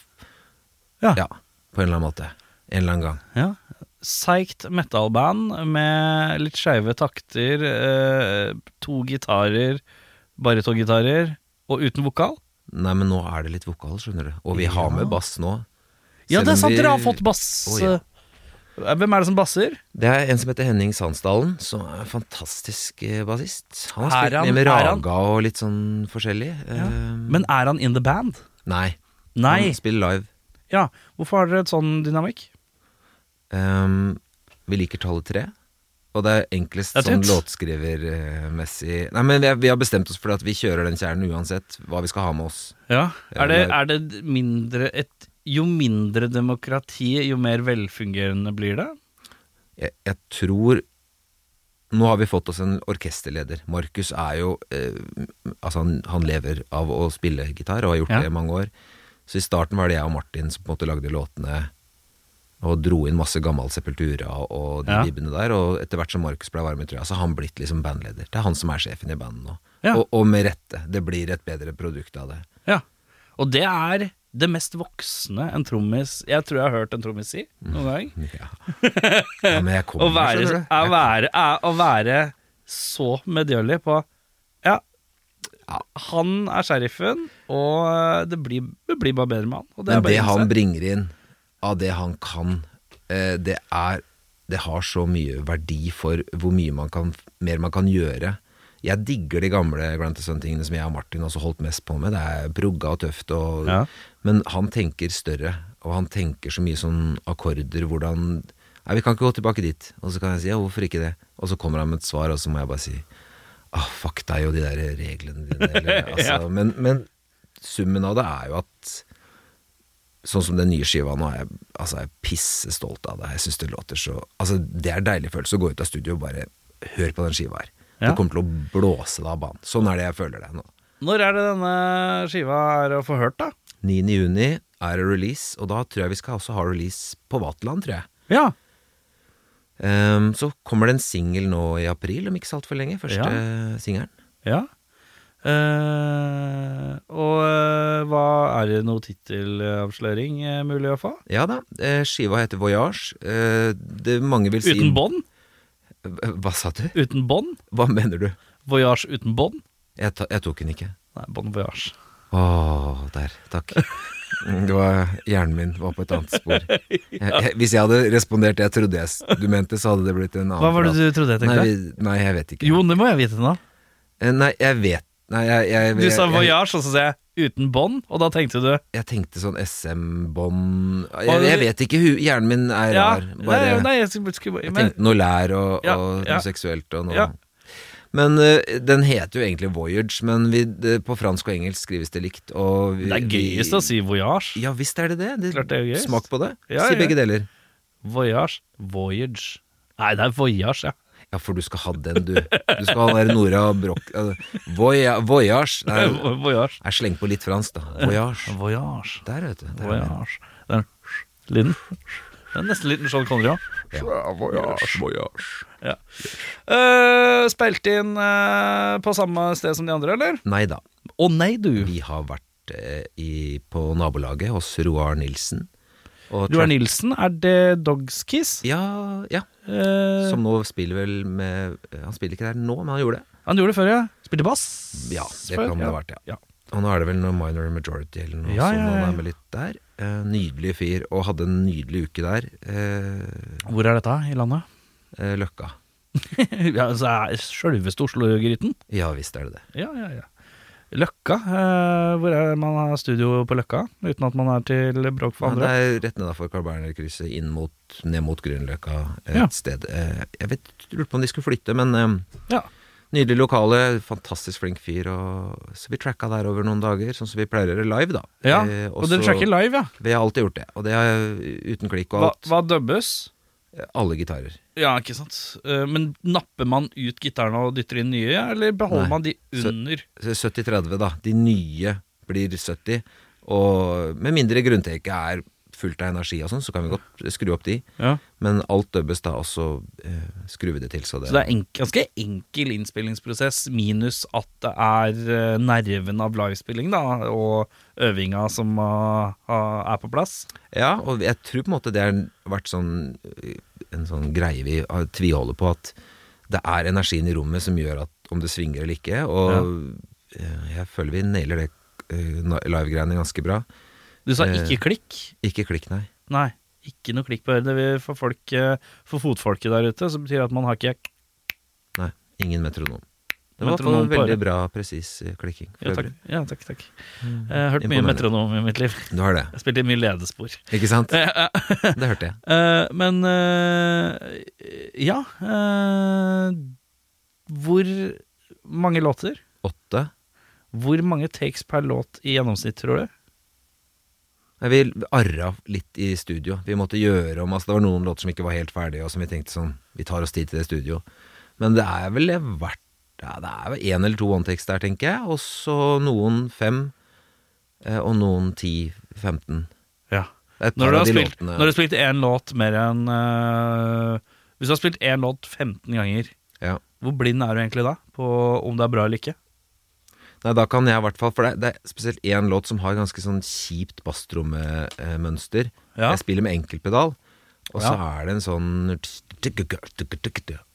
Speaker 2: Ja.
Speaker 3: ja, på en eller annen måte. En eller annen gang.
Speaker 2: Ja. Seigt metalband med litt skeive takter, eh, to gitarer, baritongitarer, og uten vokal.
Speaker 3: Nei, men nå er det litt vokal, skjønner du. Og vi har med bass nå.
Speaker 2: Ja,
Speaker 3: Selv
Speaker 2: det er
Speaker 3: om
Speaker 2: sant,
Speaker 3: vi-
Speaker 2: dere har fått bass.
Speaker 3: Å, ja.
Speaker 2: Eh, Hvem er det som basser?
Speaker 3: Det er en som heter Henning Sandsdalen, som er en fantastisk eh, bassist. Han har
Speaker 2: Er
Speaker 3: spilt
Speaker 2: han-
Speaker 3: mye med
Speaker 2: er han-
Speaker 3: Raga og litt sånn forskjellig. Eh,
Speaker 2: Men er han in the band?
Speaker 3: nei,
Speaker 2: Nei.
Speaker 3: han spiller live.
Speaker 2: Ja, Hvorfor har dere et sånn dynamikk?
Speaker 3: Ehm, vi liker tallet tre. Og det er enklest
Speaker 2: Det er
Speaker 3: sånn
Speaker 2: tøft.
Speaker 3: låtskrivermessig Nei, men vi, vi har bestemt oss for at vi kjører den kjernen uansett hva vi skal ha med oss.
Speaker 2: Ja,
Speaker 3: Ja,
Speaker 2: Er det,
Speaker 3: det
Speaker 2: er det mindre et Jo mindre demokrati, jo mer velfungerende blir det?
Speaker 3: Jeg, jeg tror Nå har vi fått oss en orkesterleder. Markus er jo eh, Altså, han, han lever av å spille gitar, og har gjort
Speaker 2: Ja.
Speaker 3: det i mange år. Så i starten var det jeg og Martin som på en måte lagde låtene og dro inn masse gammel Sepultura og de
Speaker 2: Ja.
Speaker 3: vibbene der. Og etter hvert som Markus ble varm i trøya, så har han blitt liksom bandleder. Det er han som er sjefen i bandet nå.
Speaker 2: Ja.
Speaker 3: Og, og med rette. Det blir et bedre produkt av det.
Speaker 2: Ja. Og det er det mest voksne en trommis Jeg tror jeg har hørt en trommis si noen gang.
Speaker 3: Ja, ja men jeg
Speaker 2: Å
Speaker 3: kommer,
Speaker 2: være,
Speaker 3: skjønner du.
Speaker 2: å
Speaker 3: Jeg-
Speaker 2: være, er- å være så medgjørlig på Ja,
Speaker 3: Ja.
Speaker 2: han er sheriffen, og det blir, det blir bare bedre med han. Og det er
Speaker 3: Men
Speaker 2: bare
Speaker 3: det
Speaker 2: å
Speaker 3: han
Speaker 2: innse.
Speaker 3: bringer inn av det han kan, eh, det er Det har så mye verdi for hvor mye man kan, mer man kan gjøre. Jeg digger de gamle Grant Sun-tingene som jeg og Martin også holdt mest på med. Det er progga og tøft, og,
Speaker 2: Ja.
Speaker 3: men han tenker større. Og han tenker så mye sånn akkorder, hvordan Nei, vi kan ikke gå tilbake dit. Og så kan jeg si ja, hvorfor ikke det? Og så kommer han med et svar, og så må jeg bare si ah, fuck deg og de der reglene dine. Eller, altså,
Speaker 2: Ja.
Speaker 3: men, men summen av det er jo at Sånn som den nye skiva nå, er jeg, altså, jeg er pissestolt av det. Jeg synes Det låter så Altså, det er en deilig følelse å gå ut av studio og bare Hør på den skiva her.
Speaker 2: Ja.
Speaker 3: Det kommer til å blåse deg av banen. Sånn er det jeg føler det nå.
Speaker 2: Når er det denne skiva er å få hørt, da?
Speaker 3: 9. juni er det release, og da tror jeg vi skal også ha release på Vaterland, tror jeg.
Speaker 2: Ja.
Speaker 3: Ehm, så kommer det en singel nå i april, om ikke så altfor lenge. Første
Speaker 2: Ja.
Speaker 3: singelen.
Speaker 2: ja. Eh, og eh, hva er det noe tittelavsløring eh, mulig å få?
Speaker 3: Ja da. eh, Skiva heter Voyage. Eh, det mange vil si
Speaker 2: Uten bånd?
Speaker 3: Hva sa du?
Speaker 2: Uten bånd?
Speaker 3: Hva mener du?
Speaker 2: Voyage uten bånd?
Speaker 3: Jeg, ta, jeg tok den ikke.
Speaker 2: Nei, Bon Voyage.
Speaker 3: Åh, der, takk Mm, det var, Hjernen min var på et annet spor jeg, jeg, Hvis jeg hadde respondert det jeg trodde jeg, s- du mente Så hadde det blitt en annen
Speaker 2: Hva var det du trodde jeg
Speaker 3: prat.
Speaker 2: tenkte?
Speaker 3: Nei, vi- nei, jeg vet ikke
Speaker 2: Jo, det må jeg vite nå.
Speaker 3: Eh, Nei, jeg vet nei, jeg, jeg,
Speaker 2: Du sa
Speaker 3: jeg-
Speaker 2: voyage, og så sa jeg uten bånd, og da tenkte du
Speaker 3: Jeg, jeg tenkte sånn SM-bånd
Speaker 2: Hva-
Speaker 3: jeg, jeg vet ikke, hu- hjernen min er
Speaker 2: Ja,
Speaker 3: rar Bare,
Speaker 2: nei, nei, jeg skulle skulle-
Speaker 3: jeg
Speaker 2: men,
Speaker 3: tenkte noe lær og,
Speaker 2: Ja,
Speaker 3: og
Speaker 2: ja.
Speaker 3: noe seksuelt og noe
Speaker 2: Ja.
Speaker 3: Men eh, den heter jo egentlig Voyage Men vi, det, på fransk og engelsk skrives det likt og vi,
Speaker 2: Det er gøyest
Speaker 3: vi-
Speaker 2: å si voyage.
Speaker 3: Ja visst er det det. det,
Speaker 2: Klart det er jo gøyest.
Speaker 3: Smak på det.
Speaker 2: Ja,
Speaker 3: si
Speaker 2: ja.
Speaker 3: begge deler.
Speaker 2: Voyage. Voyage. Nei, det er voyage, ja.
Speaker 3: Ja, for du skal ha den, du. Du skal ha den der Nora Broch eh, voya- Voyage. Nei,
Speaker 2: Voyage.
Speaker 3: jeg sleng på litt fransk, da. Voyage.
Speaker 2: Voyage.
Speaker 3: Der, vet du. Der er den.
Speaker 2: Voyage. Den lyden. Det er nesten liten Sean Connery òg.
Speaker 3: Voyage, voyage.
Speaker 2: Ja. Eh, spilt inn eh, på samme sted som de andre, eller?
Speaker 3: Nei da.
Speaker 2: Å nei, du.
Speaker 3: Vi har vært eh, i, på nabolaget hos Roar Nilsen. Og
Speaker 2: Roar
Speaker 3: Tra-
Speaker 2: Nilsen, er det Dogs Kiss?
Speaker 3: Ja, ja.
Speaker 2: Eh,
Speaker 3: Som nå spiller vel med eh, Han spiller ikke der nå, men han gjorde det.
Speaker 2: han gjorde det før, ja. Spilte bass.
Speaker 3: Ja, det
Speaker 2: før.
Speaker 3: kan det ha vært, ja.
Speaker 2: ja.
Speaker 3: Og nå er det vel noe minor majority eller noe
Speaker 2: Ja,
Speaker 3: sånt
Speaker 2: ja,
Speaker 3: han
Speaker 2: ja.
Speaker 3: er med litt der. Eh, nydelig fyr, og hadde en nydelig uke der. Eh,
Speaker 2: Hvor er dette i landet?
Speaker 3: eh, løkka.
Speaker 2: ja, altså, er Sjølveste Oslo-gryten?
Speaker 3: Ja visst er det det.
Speaker 2: Ja, ja, ja. Løkka. Eh, hvor er man har studio på Løkka? Uten at man er til bråk for
Speaker 3: Ja, det
Speaker 2: andre.
Speaker 3: er rett nedafor Carl Berner-krysset, inn mot, ned mot Grünerløkka et
Speaker 2: Ja.
Speaker 3: sted. Eh, jeg vet, lurte på om de skulle flytte, men eh,
Speaker 2: Ja.
Speaker 3: Nydelig lokale, fantastisk flink fyr. Og, så vi tracka der over noen dager, sånn som vi pleier å gjøre live, da.
Speaker 2: Ja,
Speaker 3: Eh,
Speaker 2: Og dere tracker live, ja?
Speaker 3: Vi har alltid gjort det, og det er uten klikk og
Speaker 2: Hva,
Speaker 3: alt.
Speaker 2: hva dubbes?
Speaker 3: Alle gitarer.
Speaker 2: Ja, ikke sant. Eh, Men napper man ut gitarene og dytter inn nye, eller beholder
Speaker 3: Nei.
Speaker 2: man de
Speaker 3: Så-
Speaker 2: under?
Speaker 3: Så 70-30, da. De nye blir 70. Og med mindre grunntaket er fullt av energi og sånn, så kan vi godt skru opp de.
Speaker 2: Ja.
Speaker 3: Men alt dubbes da, og så eh, skrur vi det til. Så det,
Speaker 2: Så det er en, ganske enkel innspillingsprosess, minus at det er eh, nerven av livespilling da, og øvinga som ah, ah, er på plass.
Speaker 3: Ja, og jeg tror på en måte det har vært sånn eh, en sånn greie vi har- tviholder på, at det er energien i rommet som gjør at om det svinger eller ikke. Og eh, jeg føler vi nailer det eh, na- live-greiene ganske bra.
Speaker 2: Du sa
Speaker 3: Eh.
Speaker 2: ikke klikk.
Speaker 3: Ikke klikk, nei.
Speaker 2: Nei, ikke noe klikk på øret. Det vil For, folk, eh, for fotfolket der ute så betyr det at man har ikke
Speaker 3: Nei, ingen metronom. Det var i hvert fall
Speaker 2: Metronom på
Speaker 3: veldig
Speaker 2: øret.
Speaker 3: bra, presis eh, klikking. for
Speaker 2: Ja, takk.
Speaker 3: øvrig.
Speaker 2: Ja, takk, takk. Jeg har hørt mye
Speaker 3: Mm. Imponerende.
Speaker 2: metronom i mitt liv.
Speaker 3: Du har det,
Speaker 2: Jeg spilte mye ledespor.
Speaker 3: ikke sant?
Speaker 2: Eh, eh,
Speaker 3: Det hørte jeg.
Speaker 2: Eh, men eh, ja eh, Hvor mange låter?
Speaker 3: Åtte.
Speaker 2: Hvor mange takes per låt i gjennomsnitt, tror du?
Speaker 3: Nei, Vi arra litt i studio. Vi måtte gjøre om altså Det var noen låter som ikke var helt ferdige, og som vi tenkte sånn Vi tar oss tid til det i studio. Men det er vel hvert ja, Det er vel én eller to one-takes der, tenker jeg. Og så noen fem, eh, og noen ti-femten.
Speaker 2: Ja.
Speaker 3: Et par
Speaker 2: Når du
Speaker 3: av
Speaker 2: har
Speaker 3: de
Speaker 2: spilt,
Speaker 3: låtene
Speaker 2: når du har spilt én låt mer enn eh, Hvis du har spilt én låt 15 ganger,
Speaker 3: ja.
Speaker 2: hvor blind er du egentlig da på om det er bra eller ikke?
Speaker 3: Nei, da kan jeg i hvert fall For det, det er spesielt én låt som har ganske sånn kjipt basstrommemønster.
Speaker 2: Ja.
Speaker 3: Jeg spiller med enkeltpedal, og så
Speaker 2: Ja.
Speaker 3: er det en sånn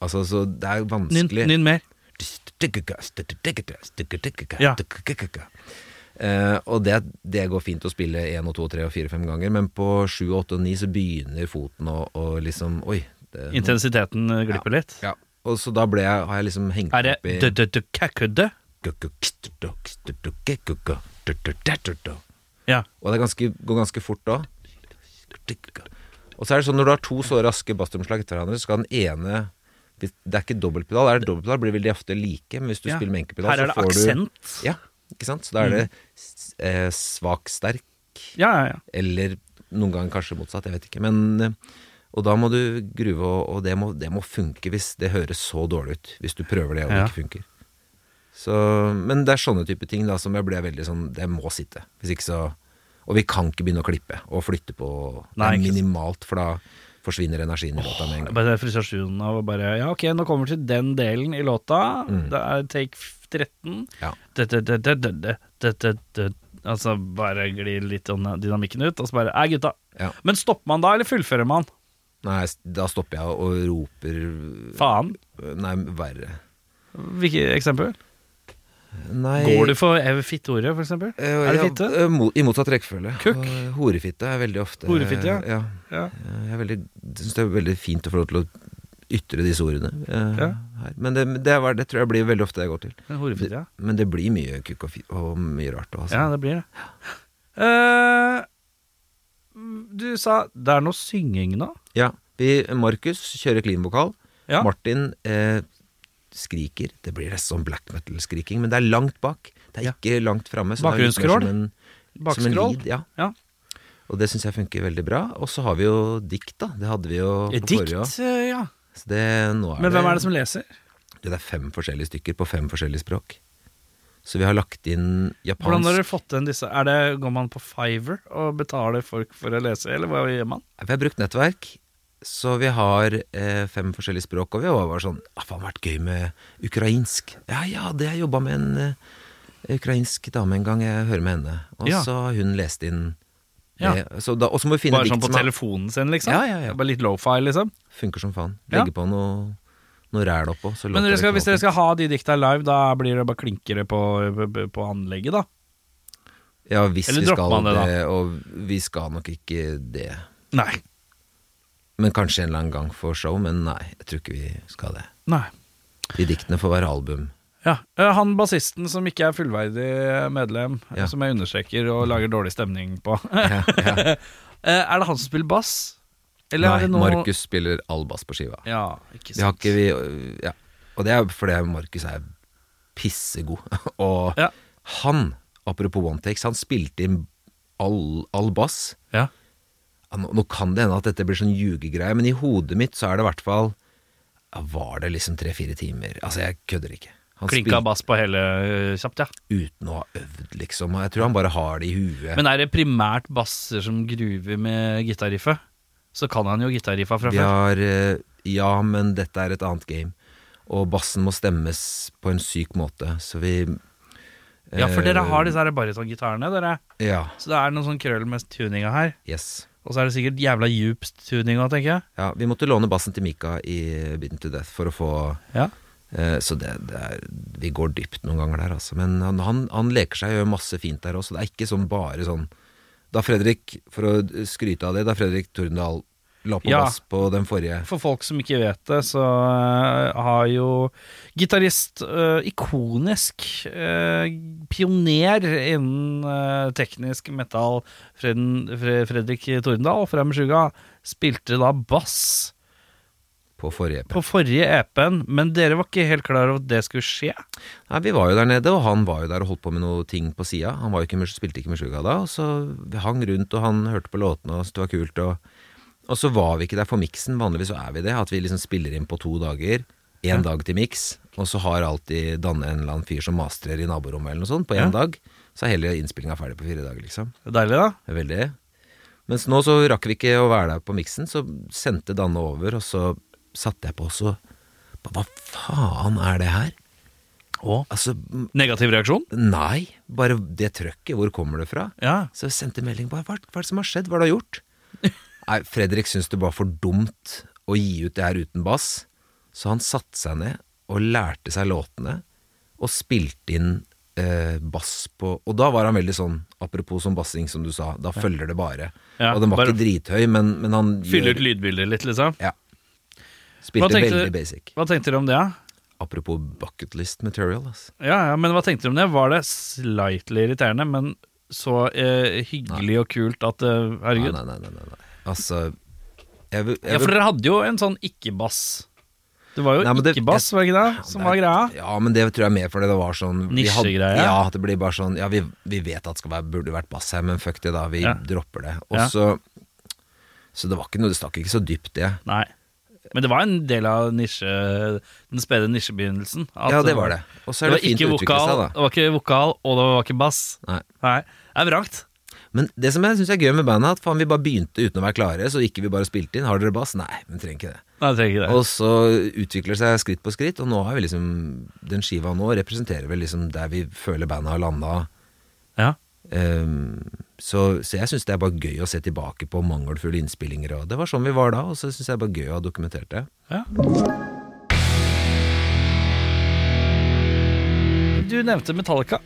Speaker 3: Altså, så det er
Speaker 2: Nynn
Speaker 3: vanskelig
Speaker 2: nynn mer. Ja.
Speaker 3: Eh, og det, det går fint å spille én og to og tre og fire fem ganger, men på sju, åtte og ni så begynner foten å å liksom Oi. Det,
Speaker 2: Intensiteten eh, glipper litt.
Speaker 3: ja. Og så da ble jeg, har jeg liksom hengt
Speaker 2: Er det
Speaker 3: opp i
Speaker 2: dø-dø-dø-kækødø?
Speaker 3: Og
Speaker 2: Ja.
Speaker 3: det er ganske, går ganske fort da. Og så er det sånn når du har to så raske bassomslag etter hverandre, så skal den ene Det det er ikke dobbeltpedal. Er det dobbeltpedal, blir vel de ofte like, men hvis du
Speaker 2: Ja.
Speaker 3: spiller med enkeltpedal,
Speaker 2: Her er
Speaker 3: så
Speaker 2: det
Speaker 3: får du
Speaker 2: aksent. Mm.
Speaker 3: Ja, ikke sant? Så da er det s- eh, svak, sterk,
Speaker 2: Ja, ja, ja.
Speaker 3: eller noen ganger kanskje motsatt, jeg vet ikke. Men, eh, og da må du gruve, og, og det, må, det må funke hvis det høres så dårlig ut. Hvis du prøver det og det
Speaker 2: Ja.
Speaker 3: ikke funker. Så, men det er sånne type ting da som jeg ble veldig sånn Det må sitte. Hvis ikke så Og vi kan ikke begynne å klippe og flytte på
Speaker 2: Nei,
Speaker 3: det
Speaker 2: ikke
Speaker 3: er
Speaker 2: sant.
Speaker 3: minimalt, for da forsvinner energien i låta med en gang.
Speaker 2: Bare frustrasjonen av å bare Ja, ok, nå kommer vi til den delen i låta.
Speaker 3: Mm.
Speaker 2: Det er take f- 13.
Speaker 3: Ja.
Speaker 2: Dø, dø, dø, dø, dø, dø, dø, dø, dø. Altså bare glir litt av dynamikken ut, og så bare Ei, gutta.
Speaker 3: Ja.
Speaker 2: Men stopper man da, eller fullfører man?
Speaker 3: Nei, da stopper jeg og roper øh,
Speaker 2: Faen.
Speaker 3: Nei, verre.
Speaker 2: Hvilket eksempel?
Speaker 3: Nei
Speaker 2: Går du for ev- fitteordet, for eksempel?
Speaker 3: Eh,
Speaker 2: Er det
Speaker 3: ja,
Speaker 2: fitte?
Speaker 3: eh, mo- I motsatt rekkefølge.
Speaker 2: Kukk?
Speaker 3: Eh, Horefitte er veldig ofte
Speaker 2: Horefitte, ja.
Speaker 3: eh, ja.
Speaker 2: Ja.
Speaker 3: Eh, Jeg er veldig- synes det er veldig fint å få lov til å ytre disse ordene eh,
Speaker 2: Ja.
Speaker 3: her. Men det, det, er- det tror jeg blir veldig ofte det jeg går til.
Speaker 2: En Horefitte, ja.
Speaker 3: Men det blir mye kukk og, fi- og mye rart. også,
Speaker 2: Ja,
Speaker 3: Altså.
Speaker 2: det blir det. Eh, du sa det er noe synging nå?
Speaker 3: Ja. Vi, Markus kjører klinvokal.
Speaker 2: Ja.
Speaker 3: Martin eh, skriker. Det blir nesten sånn black metal-skriking, men det er langt bak. Det er
Speaker 2: Ja.
Speaker 3: ikke langt framme. så det er litt mer
Speaker 2: Bakgrunnsskrål?
Speaker 3: som en- Som en
Speaker 2: Bakskroll?
Speaker 3: lead, ja.
Speaker 2: Ja.
Speaker 3: Og det syns jeg funker veldig bra. Og så har vi jo dikt, da. Det hadde vi jo på
Speaker 2: Dikt,
Speaker 3: forrige også.
Speaker 2: eh, ja.
Speaker 3: Så det, nå er
Speaker 2: Men
Speaker 3: det,
Speaker 2: hvem er det som leser?
Speaker 3: Det er fem forskjellige stykker på fem forskjellige språk. Så vi har lagt inn
Speaker 2: Hvordan
Speaker 3: japansk
Speaker 2: har dere fått inn disse? Er det, går man på Fiver og betaler folk for å lese, eller hva gjør man?
Speaker 3: Vi har brukt nettverk, så vi har eh, fem forskjellige språk. Og vi var bare sånn ah, Faen, det har vært gøy med ukrainsk. Ja ja, det har jeg jobba med en eh, ukrainsk dame en gang. Jeg hører med henne. Og
Speaker 2: Ja.
Speaker 3: så har hun lest inn det.
Speaker 2: Ja.
Speaker 3: Så da, og så må vi finne
Speaker 2: Bare
Speaker 3: dikt
Speaker 2: sånn på
Speaker 3: som er-
Speaker 2: telefonen sin, liksom?
Speaker 3: Ja, ja, ja.
Speaker 2: Bare litt low-fi, liksom?
Speaker 3: funker som faen.
Speaker 2: Ja.
Speaker 3: Legge på noe, noe ræl oppå. Så
Speaker 2: Men
Speaker 3: låter
Speaker 2: dere
Speaker 3: det
Speaker 2: skal, hvis dere
Speaker 3: knallfint.
Speaker 2: skal ha de dikta live, da blir det bare klinkere på, på, på anlegget, da?
Speaker 3: Ja, hvis
Speaker 2: Eller
Speaker 3: vi
Speaker 2: dropper
Speaker 3: skal
Speaker 2: man
Speaker 3: det,
Speaker 2: det, da?
Speaker 3: og vi skal nok ikke det.
Speaker 2: Nei.
Speaker 3: Men kanskje en eller annen gang for show, men nei, jeg tror ikke vi skal det.
Speaker 2: Nei.
Speaker 3: De diktene får være album.
Speaker 2: Ja. eh, Han bassisten som ikke er fullverdig medlem, eh,
Speaker 3: Ja.
Speaker 2: som jeg understreker og lager dårlig stemning på,
Speaker 3: Ja, ja.
Speaker 2: Eh, er det han som spiller bass? Eller
Speaker 3: Nei,
Speaker 2: er det noe
Speaker 3: Markus spiller all bass på skiva.
Speaker 2: Ja, ikke sant.
Speaker 3: Vi har ikke vi, øh, ja. Og det er fordi Markus er pissegod. Og
Speaker 2: Ja.
Speaker 3: han, apropos one takes, han spilte inn all, all bass.
Speaker 2: Ja.
Speaker 3: Ja, Nå, nå kan det hende at dette blir sånn ljugegreie, men i hodet mitt så er det i hvert fall ja, Var det liksom tre-fire timer? Altså, jeg kødder ikke. Han
Speaker 2: Klinka bass på hele eh, kjapt, ja.
Speaker 3: uten å ha øvd, liksom. Og jeg tror han bare har det i huet.
Speaker 2: Men er det primært basser som gruver med gitarriffet? Så kan han jo gitarriffa fra
Speaker 3: Vi
Speaker 2: før.
Speaker 3: har eh, Ja, men dette er et annet game. Og bassen må stemmes på en syk måte, så vi
Speaker 2: Ja, for dere har disse her barytongitarene, dere.
Speaker 3: eh, Ja.
Speaker 2: Så det er noen sånn krøll med tuninga her.
Speaker 3: Yes.
Speaker 2: Og så er det sikkert jævla djupt tuninga, tenker jeg.
Speaker 3: Ja, vi måtte låne bassen til Mika i eh, Beaten to Death for å få
Speaker 2: Ja.
Speaker 3: eh, Så det, det er Vi går dypt noen ganger der, altså. Men han, han, han leker seg og gjør masse fint der også. Det er ikke sånn bare sånn Da Fredrik, for å skryte av det, da Fredrik Tordendal la på
Speaker 2: Ja.
Speaker 3: bass på den forrige
Speaker 2: For folk som ikke vet det, så eh, har jo gitarist eh, ikonisk eh, pioner innen eh, teknisk metal Freden, Fre Fredrik Tordendal fra Meshuga spilte da bass
Speaker 3: På forrige EP.
Speaker 2: på forrige EP-en, men dere var ikke helt klar over at det skulle skje.
Speaker 3: Nei, vi var jo der nede, og han var jo der og holdt på med noe ting på sida. Han var jo ikke, mus- spilte ikke Musluga da, og så vi hang rundt, og han hørte på låtene og syntes det var kult. Og, og så var vi ikke der for miksen. Vanligvis så er vi det, at vi liksom spiller inn på to dager. Én dag til miks, og så har alltid Danne en eller annen fyr som mastrer i naborommet eller noe sånt på én
Speaker 2: Ja.
Speaker 3: dag. Så er hele innspillinga ferdig på fire dager, liksom.
Speaker 2: Det er Deilig, da.
Speaker 3: Det er Veldig. Mens nå så rakk vi ikke å være der på miksen, så sendte Danne over, og så satte jeg på, og så Hva faen er det her?
Speaker 2: Og
Speaker 3: Altså,
Speaker 2: negativ reaksjon?
Speaker 3: Nei, bare det trøkket, hvor kommer det fra?
Speaker 2: Ja.
Speaker 3: Så jeg sendte melding bare, hva, hva er det som har skjedd, hva har du gjort? Nei, Fredrik syntes det var for dumt å gi ut det her uten bass, så han satte seg ned og lærte seg låtene, og spilte inn eh, bass på, og da var han veldig sånn, apropos som bassing som du sa, da følger det bare.
Speaker 2: Ja,
Speaker 3: og den var
Speaker 2: bare-
Speaker 3: ikke drithøy, men, men han
Speaker 2: Fyller ut
Speaker 3: gjør,
Speaker 2: lydbildet litt, liksom.
Speaker 3: ja, spilte
Speaker 2: tenkte
Speaker 3: veldig
Speaker 2: du-
Speaker 3: basic.
Speaker 2: Hva tenkte dere om det? da?
Speaker 3: Apropos bucket list material, altså.
Speaker 2: Ja, ja, men hva tenkte du om det? Var det slightly irriterende, men så eh, hyggelig og kult at eh,
Speaker 3: Nei,
Speaker 2: Herregud.
Speaker 3: nei, nei, nei, nei. nei. Altså, jeg vil... jeg
Speaker 2: Ja,
Speaker 3: vil-
Speaker 2: for dere hadde jo en sånn ikke-bass. Det var jo
Speaker 3: Nei, men det-
Speaker 2: ikke-bass, var det ikke det? Som
Speaker 3: Det
Speaker 2: var
Speaker 3: er-
Speaker 2: greia.
Speaker 3: Ja, men det tror jeg er mer fordi det var sånn vi hadde-
Speaker 2: Nisjegreie.
Speaker 3: Ja, at det blir bare sånn Ja, vi, vi vet at det skal være, burde vært bass her, men fuck det, da. Vi
Speaker 2: Ja.
Speaker 3: dropper det. Og
Speaker 2: Ja.
Speaker 3: så Så det var ikke noe Det stakk ikke så dypt, det.
Speaker 2: Nei. Men det var en del av nisje, den spede nisjebegynnelsen. at- eh,
Speaker 3: ja, det var det. Og så
Speaker 2: Det
Speaker 3: er
Speaker 2: var
Speaker 3: det, fint
Speaker 2: ikke
Speaker 3: å utvikle
Speaker 2: vokal,
Speaker 3: seg, da.
Speaker 2: det var ikke vokal, og det var ikke bass.
Speaker 3: Nei.
Speaker 2: Nei, Det er vrangt.
Speaker 3: Men det som jeg syns er gøy med bandet, er at faen, vi bare begynte uten å være klare, så ikke vi bare spilte inn. Har dere bass? Nei, vi trenger ikke det.
Speaker 2: Nei, jeg trenger ikke det.
Speaker 3: Og så utvikler det seg skritt på skritt, og nå har vi liksom Den skiva nå representerer vel liksom der vi føler bandet har landa.
Speaker 2: Ja.
Speaker 3: Ehm, så, så jeg syns det er bare gøy å se tilbake på mangelfulle innspillinger. Og det var sånn vi var da, og så syns jeg det er bare gøy å ha dokumentert det.
Speaker 2: Ja. Du nevnte Metallica.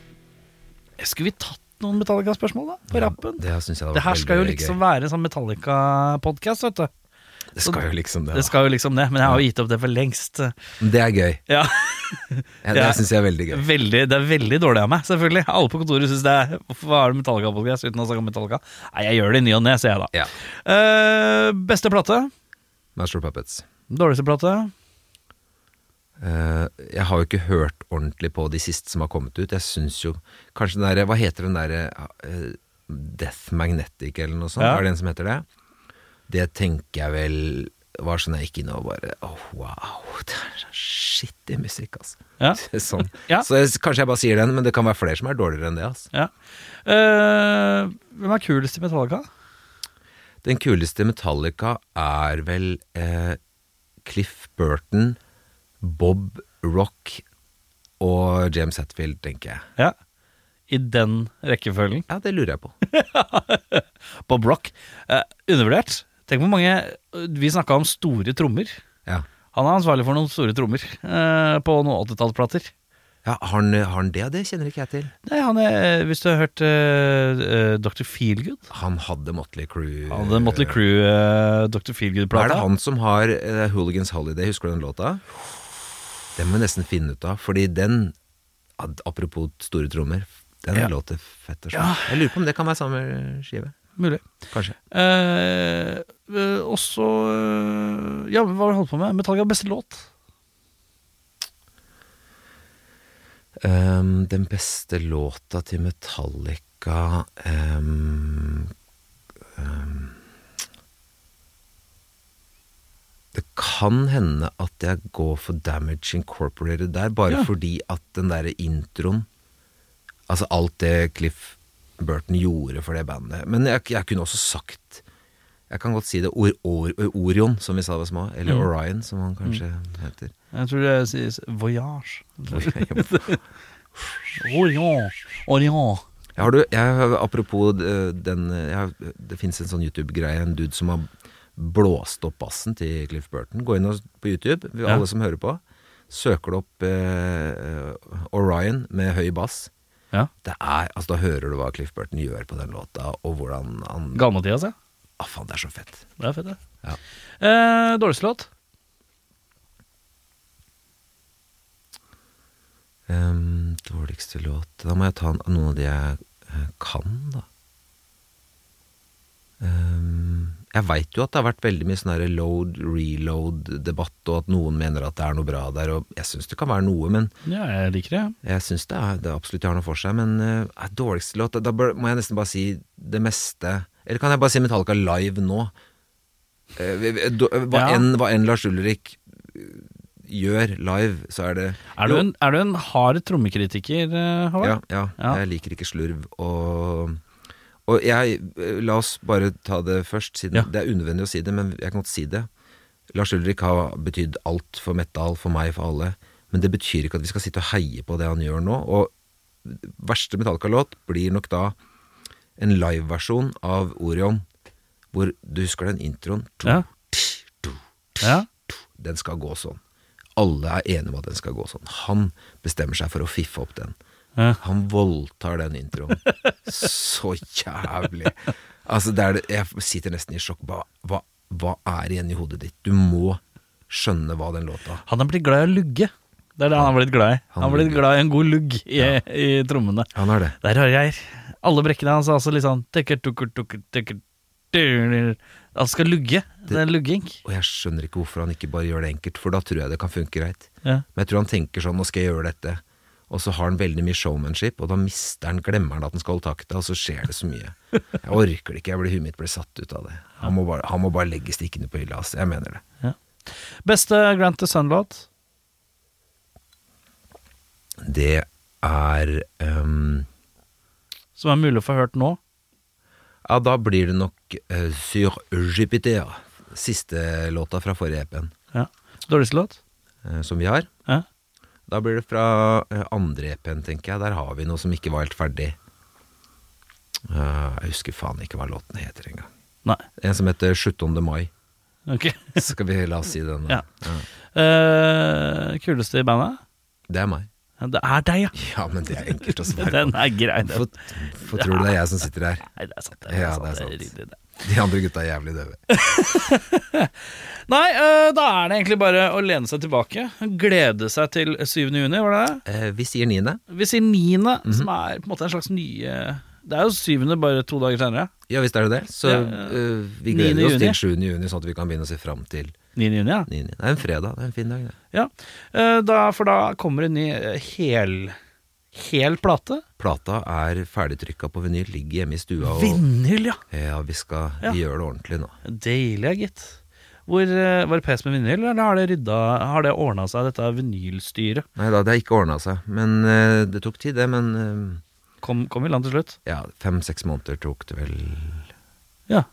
Speaker 2: Skulle vi tatt noen Metallica-spørsmål, da? På rappen?
Speaker 3: Det, synes jeg hadde
Speaker 2: Det her
Speaker 3: vært
Speaker 2: skal jo
Speaker 3: veldig
Speaker 2: liksom
Speaker 3: gøy.
Speaker 2: være en sånn Metallica-podkast, vet du.
Speaker 3: Det skal jo liksom det.
Speaker 2: Det skal jo liksom det, men jeg har jo gitt opp det for lengst.
Speaker 3: da. Det er gøy.
Speaker 2: Ja,
Speaker 3: Ja, det
Speaker 2: Ja.
Speaker 3: syns jeg er veldig gøy.
Speaker 2: veldig, Det er veldig dårlig av meg, selvfølgelig. Alle på kontoret syns det er Hvorfor har du Metallica-podkast uten å snakke om Metallica? Nei, jeg gjør det i ny og ne, sier jeg da.
Speaker 3: Ja.
Speaker 2: Eh, beste plate?
Speaker 3: Master of Puppets.
Speaker 2: Dårligste plate?
Speaker 3: Eh, jeg har jo ikke hørt ordentlig på de siste som har kommet ut. Jeg syns jo Kanskje den derre Hva heter den derre eh, Death Magnetic eller noe sånt?
Speaker 2: Ja.
Speaker 3: Er det en som heter det? Det tenker jeg vel var sånn jeg gikk inn og bare Åh, wow. Det er så skittig musikk, altså.
Speaker 2: Ja.
Speaker 3: sånn.
Speaker 2: Ja.
Speaker 3: Så jeg, kanskje jeg bare sier den, men det kan være flere som er dårligere enn det. Altså.
Speaker 2: ja. Eh, hvem er kulest i Metallica?
Speaker 3: Den kuleste Metallica er vel eh, Cliff Burton, Bob Rock og James Hetfield, tenker jeg.
Speaker 2: Ja. I den rekkefølgen.
Speaker 3: Ja, det lurer jeg på.
Speaker 2: Bob Rock. Eh, undervurdert. Tenk hvor mange Vi snakka om store trommer.
Speaker 3: Ja,
Speaker 2: Han er ansvarlig for noen store trommer eh, på noen 80-tallsplater.
Speaker 3: ja har, han, har han det? Det kjenner ikke jeg til.
Speaker 2: Nei, han er, hvis du har hørt eh, eh, Dr. Feelgood
Speaker 3: Han hadde Motley Crew.
Speaker 2: Han hadde Motley Crew eh, Dr.
Speaker 3: Er
Speaker 2: Feelgood-plata.
Speaker 3: det han som har eh, Hooligans Holiday? Husker du den låta? Den må jeg nesten finne ut av, fordi den ad- Apropos store trommer. Den
Speaker 2: Ja.
Speaker 3: låter fett og sånn. Jeg lurer på om det kan være samme skive.
Speaker 2: Mulig.
Speaker 3: Kanskje.
Speaker 2: Eh, eh, og så eh, Ja, hva var det du holdt på med? Metallica beste låt?
Speaker 3: Ehm, den beste låta til Metallica ehm, ehm, Det kan hende at jeg går for Damage Incorporated der, bare
Speaker 2: Ja.
Speaker 3: fordi at den derre introen Altså alt det Cliff Burton gjorde for det bandet. Men jeg, jeg kunne også sagt Jeg kan godt si det. Or, or, Orion, som vi sa da små. Eller
Speaker 2: Mm.
Speaker 3: Orion, som han kanskje heter.
Speaker 2: Jeg tror det sies voyage.
Speaker 3: Hvor-
Speaker 2: Orion. Orion.
Speaker 3: Jeg har du, jeg, har- apropos eh, den eh, jeg, har- Det fins en sånn YouTube-greie, en dude som har blåst opp bassen til Cliff Burton. Gå inn og- på YouTube, vi-
Speaker 2: Ja.
Speaker 3: alle som hører på. Søker du opp eh, eh, Orion med høy bass.
Speaker 2: Ja.
Speaker 3: Det er, altså Da hører du hva Cliff Burton gjør på den låta, og hvordan han
Speaker 2: Gammel-Mathias, ja.
Speaker 3: ah, Faen, det er så fett.
Speaker 2: Det er fett, det.
Speaker 3: Ja.
Speaker 2: Eh, Dårligste låt?
Speaker 3: Ehm, dårligste låt Da må jeg ta en- noen av de jeg eh, kan, da. Ehm, jeg veit jo at det har vært veldig mye sånn her load, reload-debatt, og at noen mener at det er noe bra der, og jeg syns det kan være noe, men
Speaker 2: Ja, jeg liker det.
Speaker 3: jeg syns det, er- det absolutt har noe for seg. Men eh, er dårligste låt Da bør, må jeg nesten bare si det meste. Eller kan jeg bare si Metallica live nå? Eh, vi- vi- do- hva,
Speaker 2: Ja.
Speaker 3: enn, hva enn Lars Ulrik eh, gjør live, så er det
Speaker 2: Er du
Speaker 3: Jo,
Speaker 2: en, er du en hard trommekritiker, eh, Håvard?
Speaker 3: Ja, ja,
Speaker 2: Ja.
Speaker 3: jeg liker ikke slurv. Og, og jeg eh, La oss bare ta det først, siden
Speaker 2: Ja.
Speaker 3: det er unødvendig å si det, men jeg kan godt si det. Lars Ulrik har betydd alt for metal, for meg, for alle. Men det betyr ikke at vi skal sitte og heie på det han gjør nå. Og verste Metallica-låt blir nok da en liveversjon av Orion, hvor du husker den introen?
Speaker 2: Ja. Ja.
Speaker 3: Den skal gå sånn. Alle er enige om at den skal gå sånn. Han bestemmer seg for å fiffe opp den.
Speaker 2: Ja.
Speaker 3: Han voldtar den introen. Så jævlig. Altså, det er det, jeg sitter nesten i sjokk. Hva, hva, hva er igjen i hodet ditt? Du må skjønne hva den låta
Speaker 2: Han er blitt glad i å lugge. Det er det han er blitt glad i. Han er blitt
Speaker 3: lugger.
Speaker 2: glad i en god lugg i, i trommene.
Speaker 3: Han er det.
Speaker 2: Der har jeg alle brekkene hans. er Altså litt sånn tekker, tukker, tukker, tekker, tukker. Han skal lugge. Det er lugging.
Speaker 3: Og jeg skjønner ikke hvorfor han ikke bare gjør det enkelt, for da tror jeg det kan funke greit.
Speaker 2: Ja.
Speaker 3: Men jeg tror han tenker sånn, nå skal jeg gjøre dette. Og så har han veldig mye showmanship, og da mister han, glemmer han at han skal holde takta, og så skjer det så mye. Jeg orker det ikke, jeg blir huet mitt blir satt ut av det. Han må bare, han må bare legge stikkene på hylla, altså. Jeg mener det.
Speaker 2: Beste Grant the Sun-låt?
Speaker 3: Det er ehm,
Speaker 2: Som er mulig å få hørt nå?
Speaker 3: Ja, da blir det nok eh, Sur Jupiter, siste låta fra forrige EP-en
Speaker 2: Ja. Dårligste låt?
Speaker 3: eh, som vi har.
Speaker 2: Ja.
Speaker 3: Da blir det fra eh, andre EP-en, tenker jeg. Der har vi noe som ikke var helt ferdig. Eh, jeg husker faen ikke hva låten heter engang.
Speaker 2: Nei.
Speaker 3: En som heter 17. mai.
Speaker 2: Ok.
Speaker 3: Skal vi la oss si den? nå?
Speaker 2: Ja. Eh, kuleste i bandet?
Speaker 3: Det er meg.
Speaker 2: Ja, Det er deg, ja.
Speaker 3: Ja, men det er enkelt å svare
Speaker 2: Den er grei, den.
Speaker 3: på. Hvorfor tror du det er jeg som sitter her?
Speaker 2: Nei, det er sant. Det er
Speaker 3: Ja, det er
Speaker 2: sant. Det er
Speaker 3: sant.
Speaker 2: riktig, det.
Speaker 3: De andre gutta er jævlig døve.
Speaker 2: Nei, øh, da er det egentlig bare å lene seg tilbake. Glede seg til 7. juni, var det det?
Speaker 3: Eh, vi sier niende.
Speaker 2: Vi sier 9., som er på en måte en slags nye Det er jo 7. bare to dager senere.
Speaker 3: Ja visst er det det. Så
Speaker 2: Ja,
Speaker 3: eh, vi
Speaker 2: 9.
Speaker 3: gleder oss
Speaker 2: juni.
Speaker 3: til 7. juni, sånn at vi kan begynne å se fram til
Speaker 2: 9. juni, ja.
Speaker 3: 9. Det er en fredag. Det er en fin dag, det.
Speaker 2: ja. Eh, Da, for da kommer en ny eh, hel Hel plate.
Speaker 3: Plata er ferdigtrykka på vinyl, ligger hjemme i stua og
Speaker 2: Vinyl, ja.
Speaker 3: Ja, vi skal
Speaker 2: Ja.
Speaker 3: Vi gjør det ordentlig nå.
Speaker 2: Deilig, ja, gitt. Hvor, eh, var det pes med vinyl, eller har det, rydda- har det ordna seg, dette vinylstyret?
Speaker 3: Nei da, det har ikke ordna seg. Men eh, det tok tid, det. Men
Speaker 2: Kom, kom i land til slutt?
Speaker 3: eh, ja, fem-seks måneder tok det vel
Speaker 2: Ja.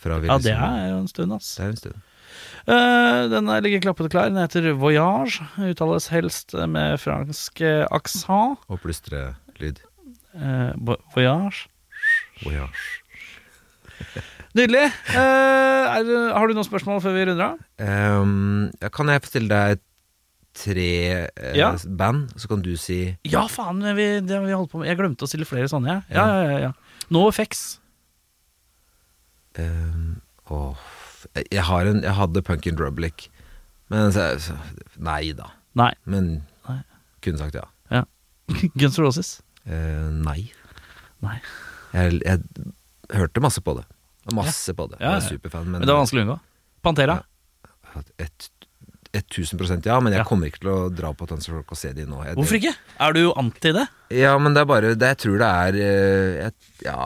Speaker 3: fra vi
Speaker 2: ja, det
Speaker 3: liksom-
Speaker 2: er jo en stund, ass.
Speaker 3: det er en stund.
Speaker 2: Eh, Den er- ligger klappet og klar. Den heter Voyage. Uttales helst med fransk eh, aksent.
Speaker 3: Og plystrelyd.
Speaker 2: Eh, vo- Voyage.
Speaker 3: Å ja.
Speaker 2: Nydelig. Eh, er, det- har du noen spørsmål før vi runder av?
Speaker 3: Ehm, ja, kan jeg fortelle deg tre eh,
Speaker 2: Ja.
Speaker 3: band, så kan du si
Speaker 2: Ja, faen. Vi, det har vi holdt på med. Jeg glemte å stille flere sånne, jeg. Ja, ja, ja, ja. No effects.
Speaker 3: ehm, åh, jeg, har en, jeg hadde Punkin Drublic, men så, så, Nei da.
Speaker 2: Nei.
Speaker 3: Men
Speaker 2: Nei.
Speaker 3: kunne sagt ja.
Speaker 2: Ja. Guns N' Roses.
Speaker 3: Eh, nei.
Speaker 2: Nei.
Speaker 3: Jeg, jeg hørte masse på det. Masse på det.
Speaker 2: Ja,
Speaker 3: jeg
Speaker 2: ja.
Speaker 3: var superfan, men,
Speaker 2: Men det er vanskelig å unngå. Pantera.
Speaker 3: Et, 1000 ja, men jeg
Speaker 2: Ja.
Speaker 3: kommer ikke til å dra på Tons of Rock og se de nå. Jeg,
Speaker 2: Hvorfor ikke? Er du anti det?
Speaker 3: Ja, men det er bare det, Jeg tror det er eh, jeg, Ja,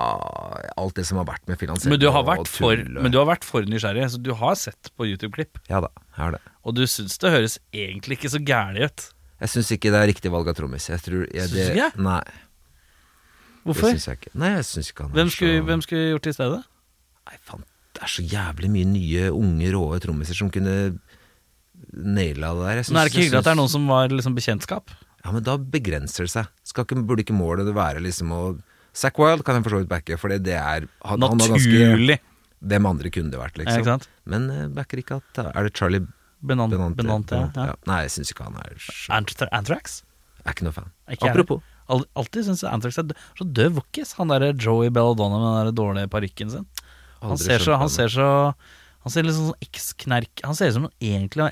Speaker 3: alt det som har vært med finansiering
Speaker 2: Men du har
Speaker 3: og
Speaker 2: vært for,
Speaker 3: tull eh. og-
Speaker 2: men du har vært for nysgjerrig, så du har sett på YouTube-klipp.
Speaker 3: Ja da, jeg har det.
Speaker 2: Og du syns det høres egentlig ikke så gærent ut.
Speaker 3: Jeg syns ikke det er riktig valg av trommis. Jeg tror jeg,
Speaker 2: Syns
Speaker 3: det,
Speaker 2: du ikke?
Speaker 3: Nei,
Speaker 2: Hvorfor?
Speaker 3: det syns jeg ikke. Nei, jeg syns ikke han er
Speaker 2: Hvem skulle,
Speaker 3: så
Speaker 2: hvem skulle gjort det i stedet?
Speaker 3: Nei, faen, det er så jævlig mye nye, unge, råe trommiser som kunne naila det der. Jeg syns-
Speaker 2: Men er det ikke
Speaker 3: jeg
Speaker 2: hyggelig at det er
Speaker 3: syns-
Speaker 2: noen som var liksom bekjentskap?
Speaker 3: Ja, men da begrenser det seg. Skal ikke, burde ikke målet det være liksom å Zack Wild kan jeg for så vidt backe, for det er han, han har ganske
Speaker 2: Naturlig.
Speaker 3: Hvem andre kunne det vært,
Speaker 2: Ja,
Speaker 3: liksom.
Speaker 2: ikke sant?
Speaker 3: Men eh, backer ikke at Er det Charlie
Speaker 2: Benan-
Speaker 3: Benante?
Speaker 2: Benante, ja.
Speaker 3: Ja. Nei, jeg syns ikke han er så-
Speaker 2: Antra- Anthrax?
Speaker 3: Jeg er ikke noe fan.
Speaker 2: Ikke jeg.
Speaker 3: Apropos.
Speaker 2: Al- Alltid syns jeg Anthrax er dø- så døv vokkis. Han derre Joey Belladonna med den der dårlige parykken sin. Han
Speaker 3: Aldri
Speaker 2: ser, så,
Speaker 3: skjønt
Speaker 2: han
Speaker 3: det.
Speaker 2: ser så Han ser litt sånn eksknerk Han ser ut som en egentlig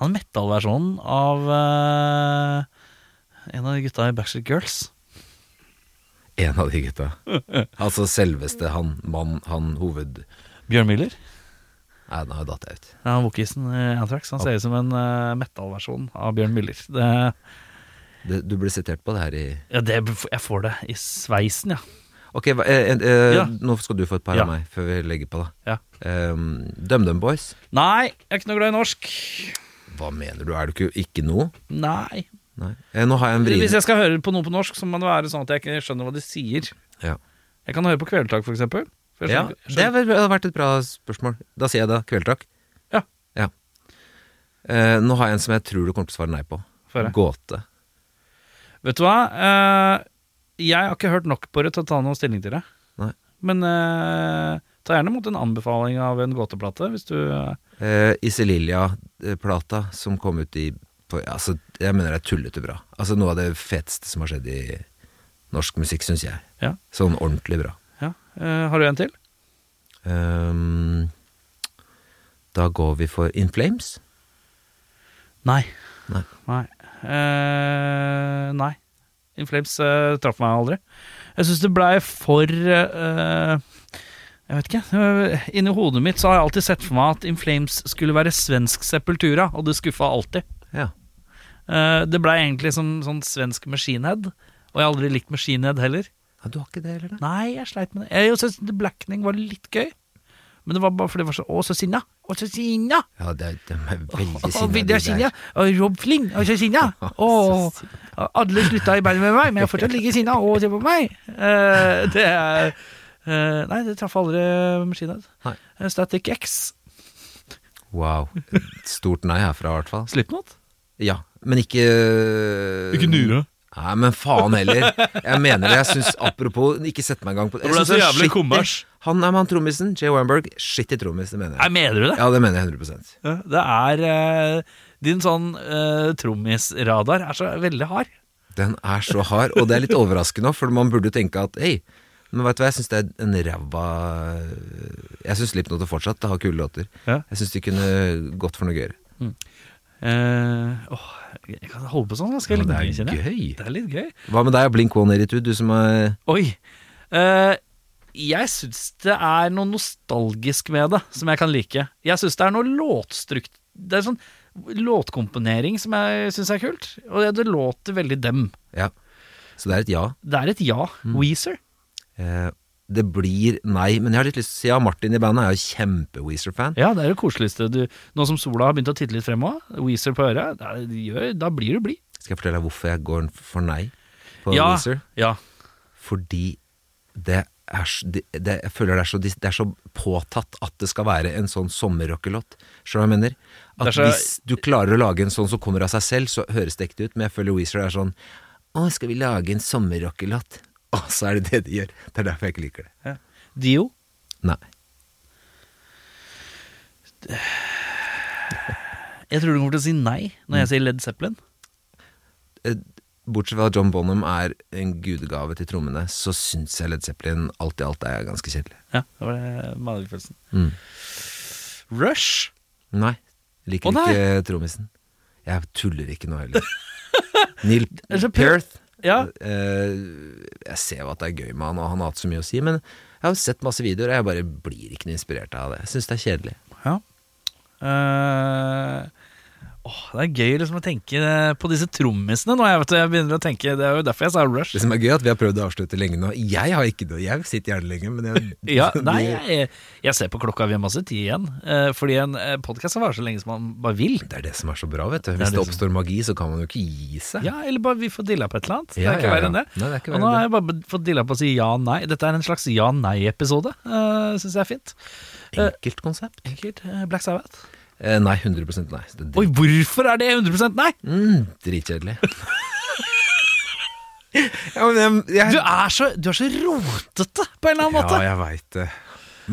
Speaker 2: Han er metallversjonen av eh, en av de gutta i Backstreet Girls.
Speaker 3: En av de gutta. Altså selveste han mann, han hoved...
Speaker 2: Bjørn Müller.
Speaker 3: Nei, nå datt jeg ut.
Speaker 2: Ja, Wokisen i Anthrax. Han ser ut som en uh, metallversjon av Bjørn Müller. Det,
Speaker 3: Det, du ble sitert på det her i
Speaker 2: ja, det, jeg får det i sveisen, ja.
Speaker 3: Ok, hva, eh, eh, eh,
Speaker 2: Ja.
Speaker 3: nå skal du få et par
Speaker 2: Ja.
Speaker 3: av meg før vi legger på, da.
Speaker 2: Ja.
Speaker 3: Ehm, DumDum Boys.
Speaker 2: Nei, jeg er ikke noe glad i norsk.
Speaker 3: Hva mener du, er du ikke Ikke noe?
Speaker 2: Nei.
Speaker 3: Nei. Eh, nå har jeg en
Speaker 2: Hvis
Speaker 3: vrien.
Speaker 2: jeg skal høre på noe på norsk, så må det være sånn at jeg ikke skjønner hva de sier.
Speaker 3: Ja.
Speaker 2: Jeg kan høre på Kvelertak, for eksempel. For jeg
Speaker 3: Ja,
Speaker 2: skjønner-
Speaker 3: det
Speaker 2: sånn, skjønner-
Speaker 3: har vel- hadde vært et bra spørsmål. Da sier jeg det. Kvelertak.
Speaker 2: Ja.
Speaker 3: Eh, nå har jeg en som jeg tror du kommer til å svare nei på.
Speaker 2: Få høre.
Speaker 3: Gåte.
Speaker 2: Vet du hva? Eh, jeg har ikke hørt nok på det til å ta noen stilling til det.
Speaker 3: Nei.
Speaker 2: Men eh, ta gjerne imot en anbefaling av en gåteplate, hvis du eh,
Speaker 3: Eh, Iselilja-plata som kom ut i på, altså, Jeg mener det er tullete bra. Altså Noe av det feteste som har skjedd i norsk musikk, syns jeg.
Speaker 2: Ja.
Speaker 3: Sånn ordentlig bra.
Speaker 2: Ja. Eh, har du en til?
Speaker 3: Ehm, da går vi for In Flames.
Speaker 2: Nei.
Speaker 3: Nei.
Speaker 2: Nei. Eh, nei. In Flames eh, traff meg aldri. Jeg syns det blei for eh, Jeg vet ikke. eh, inni hodet mitt så har jeg alltid sett for meg at In Flames skulle være svensk Sepultura, og det skuffa alltid.
Speaker 3: Ja.
Speaker 2: Eh, det blei egentlig som sånn svensk Machine Head, og jeg har aldri likt Machine Head heller.
Speaker 3: ja. Du har ikke det heller, da?
Speaker 2: Nei, jeg sleit med det. Jeg syns The Blackening var litt gøy, men det var bare fordi det var så Å, så sinna! Å, så sinna!
Speaker 3: Ja, det er, de er veldig
Speaker 2: Å,
Speaker 3: sinna,
Speaker 2: det er
Speaker 3: de
Speaker 2: Sinja.
Speaker 3: der.
Speaker 2: Og Rob Fling, og så er Sinja.
Speaker 3: så
Speaker 2: Og alle slutta i bandet med meg, men jeg har fortsatt ligget i Sinja og ser på meg. Eh, det er eh, Nei, det traff aldri maskinen.
Speaker 3: Nei.
Speaker 2: Eh, Static X.
Speaker 3: Wow. Stort nei herfra, i hvert fall.
Speaker 2: Slipknot?
Speaker 3: Ja, men ikke
Speaker 2: Eh,
Speaker 3: Nei, men faen heller. Jeg mener det. Jeg syns apropos Ikke sett meg en gang på
Speaker 2: ble
Speaker 3: Jeg
Speaker 2: så
Speaker 3: synes han
Speaker 2: jævlig
Speaker 3: skittig-
Speaker 2: kommers.
Speaker 3: Han er mann trommisen. Jay Weinberg. Skittig trommis, det mener
Speaker 2: Nei,
Speaker 3: jeg.
Speaker 2: mener du det?
Speaker 3: Ja, det mener jeg 100
Speaker 2: Ja, Det er eh, Din sånn uh, trommisradar er så veldig hard.
Speaker 3: Den er så hard, og det er litt overraskende òg, for man burde jo tenke at hei, men veit du hva, jeg syns det er en ræva øh, Jeg syns Slipknot og fortsatt har kule låter.
Speaker 2: Ja.
Speaker 3: Jeg syns de kunne gått for noe gøyere.
Speaker 2: Eh, åh, jeg kan holde på sånn ganske
Speaker 3: Ja, men
Speaker 2: lenge,
Speaker 3: det er
Speaker 2: kjenner jeg.
Speaker 3: gøy.
Speaker 2: Det er litt gøy.
Speaker 3: Hva med deg, Blink 182, du som er
Speaker 2: Oi. Eh, jeg syns det er noe nostalgisk med det, som jeg kan like. Jeg syns det er noe låtstrukt Det er sånn låtkomponering som jeg syns er kult. Og det, det låter veldig dem.
Speaker 3: Ja. Så det er et ja.
Speaker 2: Det er et ja. Weezer.
Speaker 3: Eh, det blir nei, men jeg har litt lyst til å si ja. Martin i bandet er jo kjempe-Weezer-fan.
Speaker 2: Ja, det er det koseligste. Du, nå som sola har begynt å titte litt fremover, Weezer på øret, da, gjør, da blir du blid.
Speaker 3: Skal jeg fortelle deg hvorfor jeg går for nei på
Speaker 2: Ja,
Speaker 3: Weezer?
Speaker 2: ja.
Speaker 3: Fordi det er, s- det, det, jeg føler det er, så, dis- det er så påtatt at det skal være en sånn sommerrockelåt. Skjønner du hva jeg mener?
Speaker 2: Det
Speaker 3: At
Speaker 2: er så-
Speaker 3: Hvis du klarer å lage en sånn som kommer av seg selv, så høres det ekte ut, men jeg føler Weezer er sånn Å, skal vi lage en sommerrockelåt? Og så er det det de gjør. Det er derfor jeg ikke liker det.
Speaker 2: Dio.
Speaker 3: Nei.
Speaker 2: Jeg tror du kommer til å si nei når jeg sier Led Zeppelin.
Speaker 3: Eh, Bortsett fra at John Bonham er en gudegave til trommene, så syns jeg Led Zeppelin alt i alt er ganske kjedelig.
Speaker 2: Ja, det var det magefølelsen.
Speaker 3: Mm.
Speaker 2: Rush.
Speaker 3: Nei. Liker
Speaker 2: Å, nei.
Speaker 3: ikke eh, trommisen. Jeg tuller ikke nå heller. Neil
Speaker 2: er så per-
Speaker 3: Perth.
Speaker 2: Ja.
Speaker 3: Eh, jeg ser jo at det er gøy med han, og han har hatt så mye å si, men jeg har jo sett masse videoer, og jeg bare blir ikke noe inspirert av det. Jeg syns det er kjedelig.
Speaker 2: Ja. Eh, Åh, det er gøy liksom å tenke på disse trommisene nå. Jeg, vet, jeg begynner å tenke, Det er jo derfor jeg sa Rush.
Speaker 3: Det som er gøy, er at vi har prøvd å avslutte lenge nå. Jeg har ikke det, jeg sitter gjerne lenge, men jeg,
Speaker 2: Ja, nei, jeg, jeg ser på klokka, vi har masse tid igjen. Eh, fordi en eh, podkast kan vare så lenge som man bare vil.
Speaker 3: det er det som er så bra, vet du.
Speaker 2: Det
Speaker 3: Hvis
Speaker 2: er
Speaker 3: det
Speaker 2: det
Speaker 3: oppstår magi, så kan man jo ikke gi seg.
Speaker 2: Ja, eller bare vi får dilla på et eller annet.
Speaker 3: Ja,
Speaker 2: det er ikke
Speaker 3: ja,
Speaker 2: verre
Speaker 3: ja.
Speaker 2: enn det.
Speaker 3: Nei, det er ikke
Speaker 2: og
Speaker 3: verre
Speaker 2: nå har
Speaker 3: enn
Speaker 2: jeg bare fått dilla på å si ja-nei. Dette er en slags ja-nei-episode. Uh, Syns jeg er fint. Eh,
Speaker 3: Enkelt konsept.
Speaker 2: Enkelt. eh, Black Sabbath.
Speaker 3: Eh, nei, 100 nei. Det er
Speaker 2: Oi,
Speaker 3: drit,
Speaker 2: hvorfor er det 100 nei?!
Speaker 3: mm, dritkjedelig. ja, men jeg, jeg,
Speaker 2: Du er så, du er så rotete, på en eller annen måte.
Speaker 3: Ja, jeg veit det.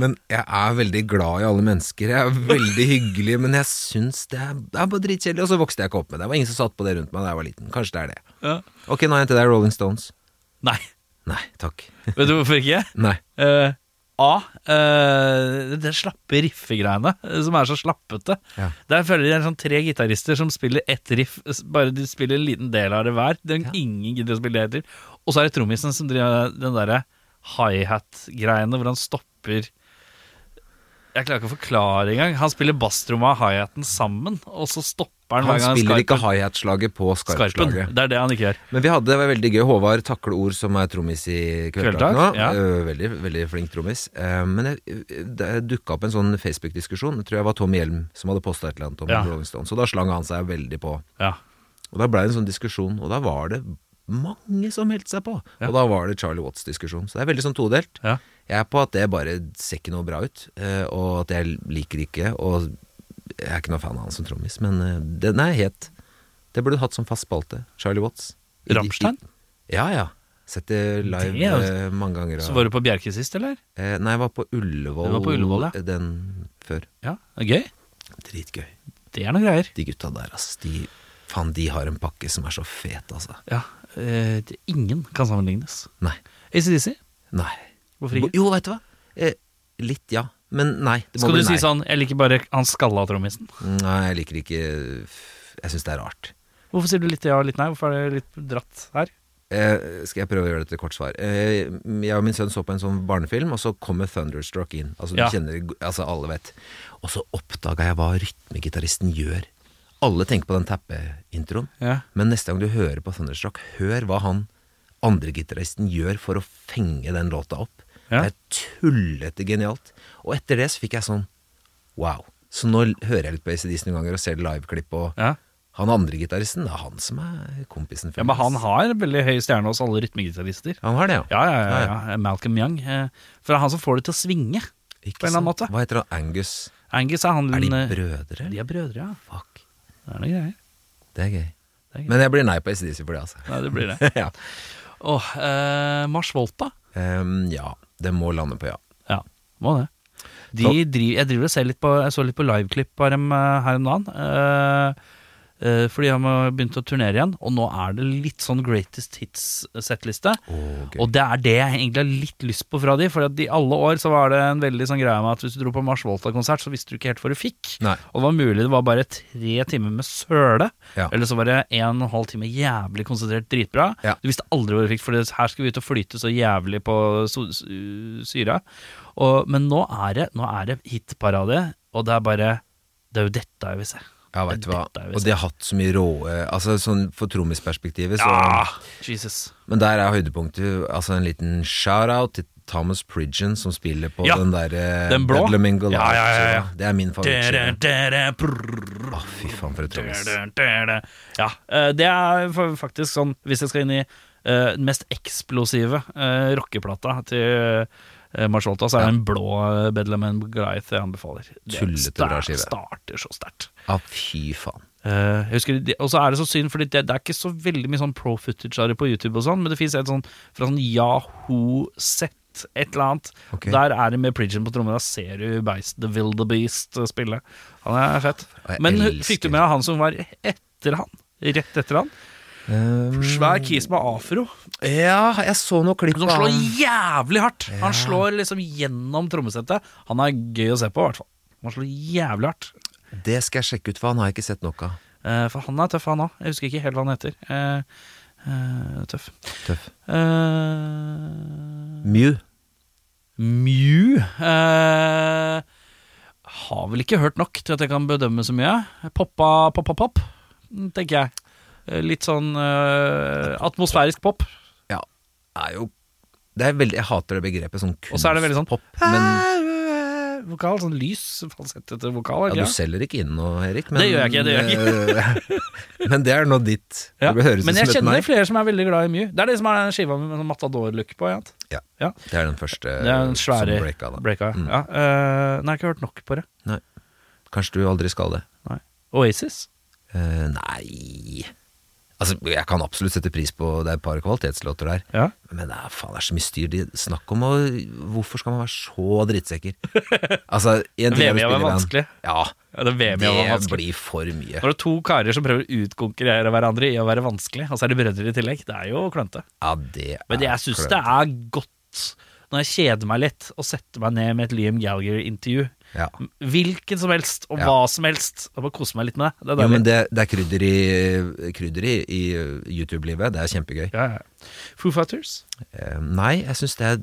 Speaker 3: Men jeg er veldig glad i alle mennesker. Jeg er veldig hyggelig, men jeg syns det er, det er bare dritkjedelig. Og så vokste jeg ikke opp med det. Det var ingen som satt på det rundt meg da jeg var liten. Kanskje det er det.
Speaker 2: Ja.
Speaker 3: Ok, nå er jeg til deg, Rolling Stones.
Speaker 2: Nei.
Speaker 3: Nei takk.
Speaker 2: Vet du hvorfor ikke?
Speaker 3: Nei.
Speaker 2: Eh, A. eh, det slappe riffegreiene, eh, som er så slappete.
Speaker 3: Ja.
Speaker 2: Der føler jeg det er sånn tre gitarister som spiller ett riff, s- bare de spiller en liten del av det hver. Det er Ingen gidder å spille det etter. Og så er det trommisen som driver den derre high-hat-greiene, hvor han stopper Jeg klarer ikke å forklare engang. Han spiller basstromma og high-haten sammen, og så stopper han,
Speaker 3: Han
Speaker 2: hver gang
Speaker 3: spiller ikke
Speaker 2: skarpen-
Speaker 3: high-hat-slaget på
Speaker 2: skarpen.
Speaker 3: skarpslaget.
Speaker 2: Det er det han ikke gjør.
Speaker 3: Men vi hadde det var veldig gøy. Håvard Takleord, som er trommis i Kveldtak nå.
Speaker 2: Kveldtak, ja.
Speaker 3: Eh, Veldig, veldig flink trommis. Eh, Men jeg- det dukka opp en sånn Facebook-diskusjon. Jeg tror jeg var Tommy Hjelm som hadde posta et eller annet om
Speaker 2: Ja.
Speaker 3: Rolling Stones. Og da slang han seg veldig på.
Speaker 2: Ja.
Speaker 3: Og da ble det en sånn diskusjon, og da var det mange som meldte seg på.
Speaker 2: Ja.
Speaker 3: Og da var det Charlie Watts-diskusjon. Så det er veldig sånn todelt.
Speaker 2: Ja.
Speaker 3: Jeg er på at det bare ser ikke noe bra ut, eh, og at jeg liker det ikke, og jeg er ikke noe fan av han som trommis, men eh, den er het. Det burde du hatt som fast spalte. Charlie Watts. I-
Speaker 2: Rammstein?
Speaker 3: i- Ja, ja. Sett det live
Speaker 2: Det er jo-
Speaker 3: eh, mange ganger.
Speaker 2: Så
Speaker 3: og-
Speaker 2: var du på Bjerke sist, eller?
Speaker 3: eh, nei, jeg var på Ullevål,
Speaker 2: Du var på Ullevål, ja.
Speaker 3: den før.
Speaker 2: Ja. Det er Gøy.
Speaker 3: Dritgøy.
Speaker 2: Det er noen greier.
Speaker 3: De gutta der, ass. De, faen, de har en pakke som er så fet, altså.
Speaker 2: Ja, eh, det- ingen kan sammenlignes.
Speaker 3: Nei.
Speaker 2: ACDC,
Speaker 3: Nei.
Speaker 2: hvorfor ikke?
Speaker 3: Jo, veit du hva? Eh, litt ja, men nei. Det må
Speaker 2: Skal du
Speaker 3: bli
Speaker 2: si
Speaker 3: nei.
Speaker 2: sånn 'jeg liker bare han skalla trommisen'?
Speaker 3: Nei, jeg liker ikke Jeg syns det er rart.
Speaker 2: Hvorfor sier du litt ja og litt nei? Hvorfor er det litt dratt her?
Speaker 3: Eh, skal jeg prøve å gjøre det til et kort svar? Eh, jeg og min sønn så på en sånn barnefilm, og så kommer Thunderstruck inn. Altså,
Speaker 2: Ja.
Speaker 3: du kjenner, altså alle vet. Og så oppdaga jeg hva rytmegitaristen gjør. Alle tenker på den tappeintroen,
Speaker 2: Ja.
Speaker 3: men neste gang du hører på Thunderstruck, hør hva han andregitaristen gjør for å fenge den låta opp.
Speaker 2: Ja.
Speaker 3: Det er tullete genialt. Og etter det så fikk jeg sånn wow. Så nå l- hører jeg litt på ACDC noen ganger og ser liveklipp, og
Speaker 2: Ja.
Speaker 3: han andre gitaristen, det er han som er kompisen for
Speaker 2: ja, men
Speaker 3: meg.
Speaker 2: han har en veldig høy stjerne hos alle rytmegitarister.
Speaker 3: Han har det, ja.
Speaker 2: Ja, ja, ja, ja. Malcolm Young. eh, For det er han som får det til å svinge,
Speaker 3: Ikke
Speaker 2: på en eller annen
Speaker 3: sant.
Speaker 2: måte.
Speaker 3: Hva heter han? Angus?
Speaker 2: Angus er han
Speaker 3: Er de
Speaker 2: eh,
Speaker 3: brødre?
Speaker 2: De er brødre, ja.
Speaker 3: Fuck.
Speaker 2: Det er noen greier.
Speaker 3: Det er gøy.
Speaker 2: Det er gøy.
Speaker 3: Men jeg blir nei på ACDC for det, altså.
Speaker 2: Nei, det blir det.
Speaker 3: ja.
Speaker 2: Åh, eh, Mars Volta.
Speaker 3: Ehm, ja, det må lande på ja.
Speaker 2: Ja, må det. De driver, jeg driver og ser litt på Jeg så litt på liveklipp av dem eh, her om dagen. eh, eh, fordi han har begynt å turnere igjen, og nå er det litt sånn Greatest Hits-settliste.
Speaker 3: Åh, gøy.
Speaker 2: Og det er det jeg egentlig har litt lyst på fra de, for at i alle år så var det en veldig sånn greie med at hvis du dro på Mars Volta-konsert, så visste du ikke helt hva du fikk.
Speaker 3: Nei.
Speaker 2: Og det var mulig det var bare tre timer med søle,
Speaker 3: Ja.
Speaker 2: eller så var det en og en halv time jævlig konsentrert dritbra.
Speaker 3: Ja.
Speaker 2: Du visste aldri hva du fikk, for det- her skal vi ut og flyte så jævlig på so- s- uh, syra. Og, men nå er det, nå er det hitparade, og det er bare Det er jo dette jeg vil se.
Speaker 3: Ja, vet du hva.
Speaker 2: Dette er jo
Speaker 3: Og de har hatt så mye råe Altså sånn for trommisperspektivet, så
Speaker 2: Ja! Jesus.
Speaker 3: Men der er høydepunktet altså en liten shout-out til Thomas Pridgen, som spiller på
Speaker 2: Ja,
Speaker 3: den eh, derre
Speaker 2: den blå. Ja, ja, ja, ja.
Speaker 3: Det er
Speaker 2: Dere,
Speaker 3: min favorittskive.
Speaker 2: dere, prrrr.
Speaker 3: Å, fy faen, for et trommis.
Speaker 2: Dun, dun, dun. Ja, eh, det er fa- faktisk sånn Hvis jeg skal inn i eh, den mest eksplosive eh, rockeplata til uh, Mars Volta, så er det en blå eh, Bedlam and Goliath jeg anbefaler. Det
Speaker 3: Tullete bra
Speaker 2: sta-
Speaker 3: skive.
Speaker 2: starter så sterkt.
Speaker 3: Ja, fy faen.
Speaker 2: Eh, jeg husker det- Og så er det så synd, for det, det er ikke så veldig mye sånn pro footage av det på YouTube, og sånn men det fins et sånn fra sånn Yahoo Set. Et eller annet.
Speaker 3: Ok.
Speaker 2: Der er det med Pridgen på trommene. Da ser du Beist, The Wildebeest spille. Han er fett.
Speaker 3: jeg
Speaker 2: Men
Speaker 3: elsker-
Speaker 2: fikk du med han som var etter han? Rett etter han?
Speaker 3: Ehm,
Speaker 2: Svær kis med afro.
Speaker 3: Ja, jeg så noe klipp
Speaker 2: Som slår jævlig hardt! Han slår liksom gjennom trommesettet. Han er gøy å se på, i hvert fall. Han slår jævlig hardt.
Speaker 3: Det skal jeg sjekke ut, for han har jeg ikke sett nok av.
Speaker 2: Eh, for han er tøff, han òg. Jeg husker ikke helt hva han heter. Eh, eh, tøff.
Speaker 3: Tøff.
Speaker 2: Eh,
Speaker 3: Mew.
Speaker 2: Mew eh, Har vel ikke hørt nok til at jeg kan bedømme så mye. Poppa, poppa, pop, tenker jeg. Eh, Litt sånn eh, atmosfærisk pop.
Speaker 3: Ja, er jo det er veldig, Jeg hater det begrepet, sånn kunstpop.
Speaker 2: Og så er det veldig sånn
Speaker 3: Men
Speaker 2: Vokal, sånn lys, falsettete vokal.
Speaker 3: ja,
Speaker 2: ikke
Speaker 3: Du
Speaker 2: sant?
Speaker 3: selger ikke inn noe, Erik. Men,
Speaker 2: Det gjør jeg ikke, det
Speaker 3: eh, men det er nå ditt.
Speaker 2: Ja,
Speaker 3: Det bør høres
Speaker 2: Men
Speaker 3: ut
Speaker 2: jeg
Speaker 3: som et nei.
Speaker 2: kjenner flere som er veldig glad i mye. Det er det som er den skiva med sånn matador-look på. Ikke sant?
Speaker 3: Ja.
Speaker 2: Ja.
Speaker 3: Det er den første
Speaker 2: Det er den svære
Speaker 3: Eh, som breaka, da.
Speaker 2: breaka. ja.
Speaker 3: Mm.
Speaker 2: Ja, eh, nei, jeg har ikke hørt nok på det.
Speaker 3: Nei. Kanskje du aldri skal det.
Speaker 2: Nei. Oasis?
Speaker 3: Eh, nei Altså, jeg kan absolutt sette pris på Det er et par kvalitetslåter der.
Speaker 2: Ja.
Speaker 3: Men det er, faen, det er så mye styr. De snakker om å Hvorfor skal man være så drittsekker? altså, en ting er
Speaker 2: VM-et var
Speaker 3: å spille i band.
Speaker 2: vanskelig.
Speaker 3: Ja.
Speaker 2: Ja, det VM var
Speaker 3: Det
Speaker 2: vanskelig.
Speaker 3: blir for mye.
Speaker 2: Når det er to karer som prøver å utkonkurrere hverandre i å være vanskelig, og så er de brødre i tillegg, det er jo klønete.
Speaker 3: Ja, det er
Speaker 2: Men jeg syns
Speaker 3: klønete.
Speaker 2: det er godt, når jeg kjeder meg litt, å sette meg ned med et Liam Gallagher-intervju.
Speaker 3: Ja.
Speaker 2: Hvilken som helst, og
Speaker 3: Ja.
Speaker 2: hva som helst. Og bare kose meg litt med det. Det er
Speaker 3: Jo,
Speaker 2: deilig.
Speaker 3: men det, det er krydder i, krydder i, i eh, YouTube-livet. Det er kjempegøy.
Speaker 2: Ja, ja. Foo Fighters?
Speaker 3: Eh, nei, jeg syns det er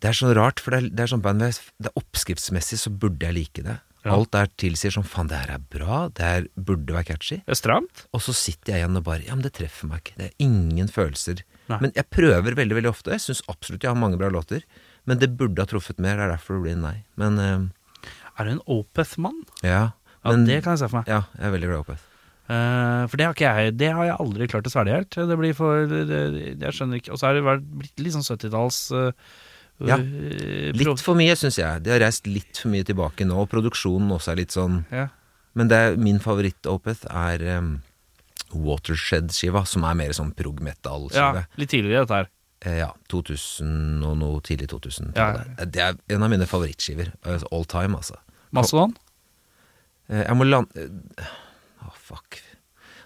Speaker 3: Det er så rart, for det er, det er sånn band hvor jeg- Det er oppskriftsmessig så burde jeg like det.
Speaker 2: Ja.
Speaker 3: Alt der tilsier sånn faen, det her er bra, det her burde være catchy.
Speaker 2: Det er stramt?
Speaker 3: Og så sitter jeg igjen og bare Ja, men det treffer meg ikke. Det er ingen følelser.
Speaker 2: Nei.
Speaker 3: Men jeg prøver veldig, veldig ofte. Jeg syns absolutt jeg har mange bra låter. Men det burde ha truffet mer. Det er derfor det blir en nei. Men eh,
Speaker 2: Er du en Opeth-mann?
Speaker 3: ja.
Speaker 2: Ja,
Speaker 3: Men,
Speaker 2: det kan jeg se for meg.
Speaker 3: ja, jeg er veldig glad i Opeth.
Speaker 2: Eh, for det har ikke jeg Det har jeg aldri klart å svelge helt. Det blir for det, det- Jeg skjønner ikke Og så har det vært- blitt litt sånn 70-talls eh,
Speaker 3: Ja,
Speaker 2: eh, pro-
Speaker 3: Litt for mye, syns jeg. De har reist litt for mye tilbake nå. Og produksjonen også er litt sånn
Speaker 2: ja.
Speaker 3: Men det er, min favoritt-Opeth er em, Watershed-skiva, som er mer sånn prog metal-skive.
Speaker 2: ja, litt tidligere dette her.
Speaker 3: Eh, ja, 2000 og noe tidlig 2000.
Speaker 2: Ja.
Speaker 3: Det er en av mine favorittskiver. eh, All time, altså.
Speaker 2: Mastodon?
Speaker 3: Eh, jeg må lande Å, fuck.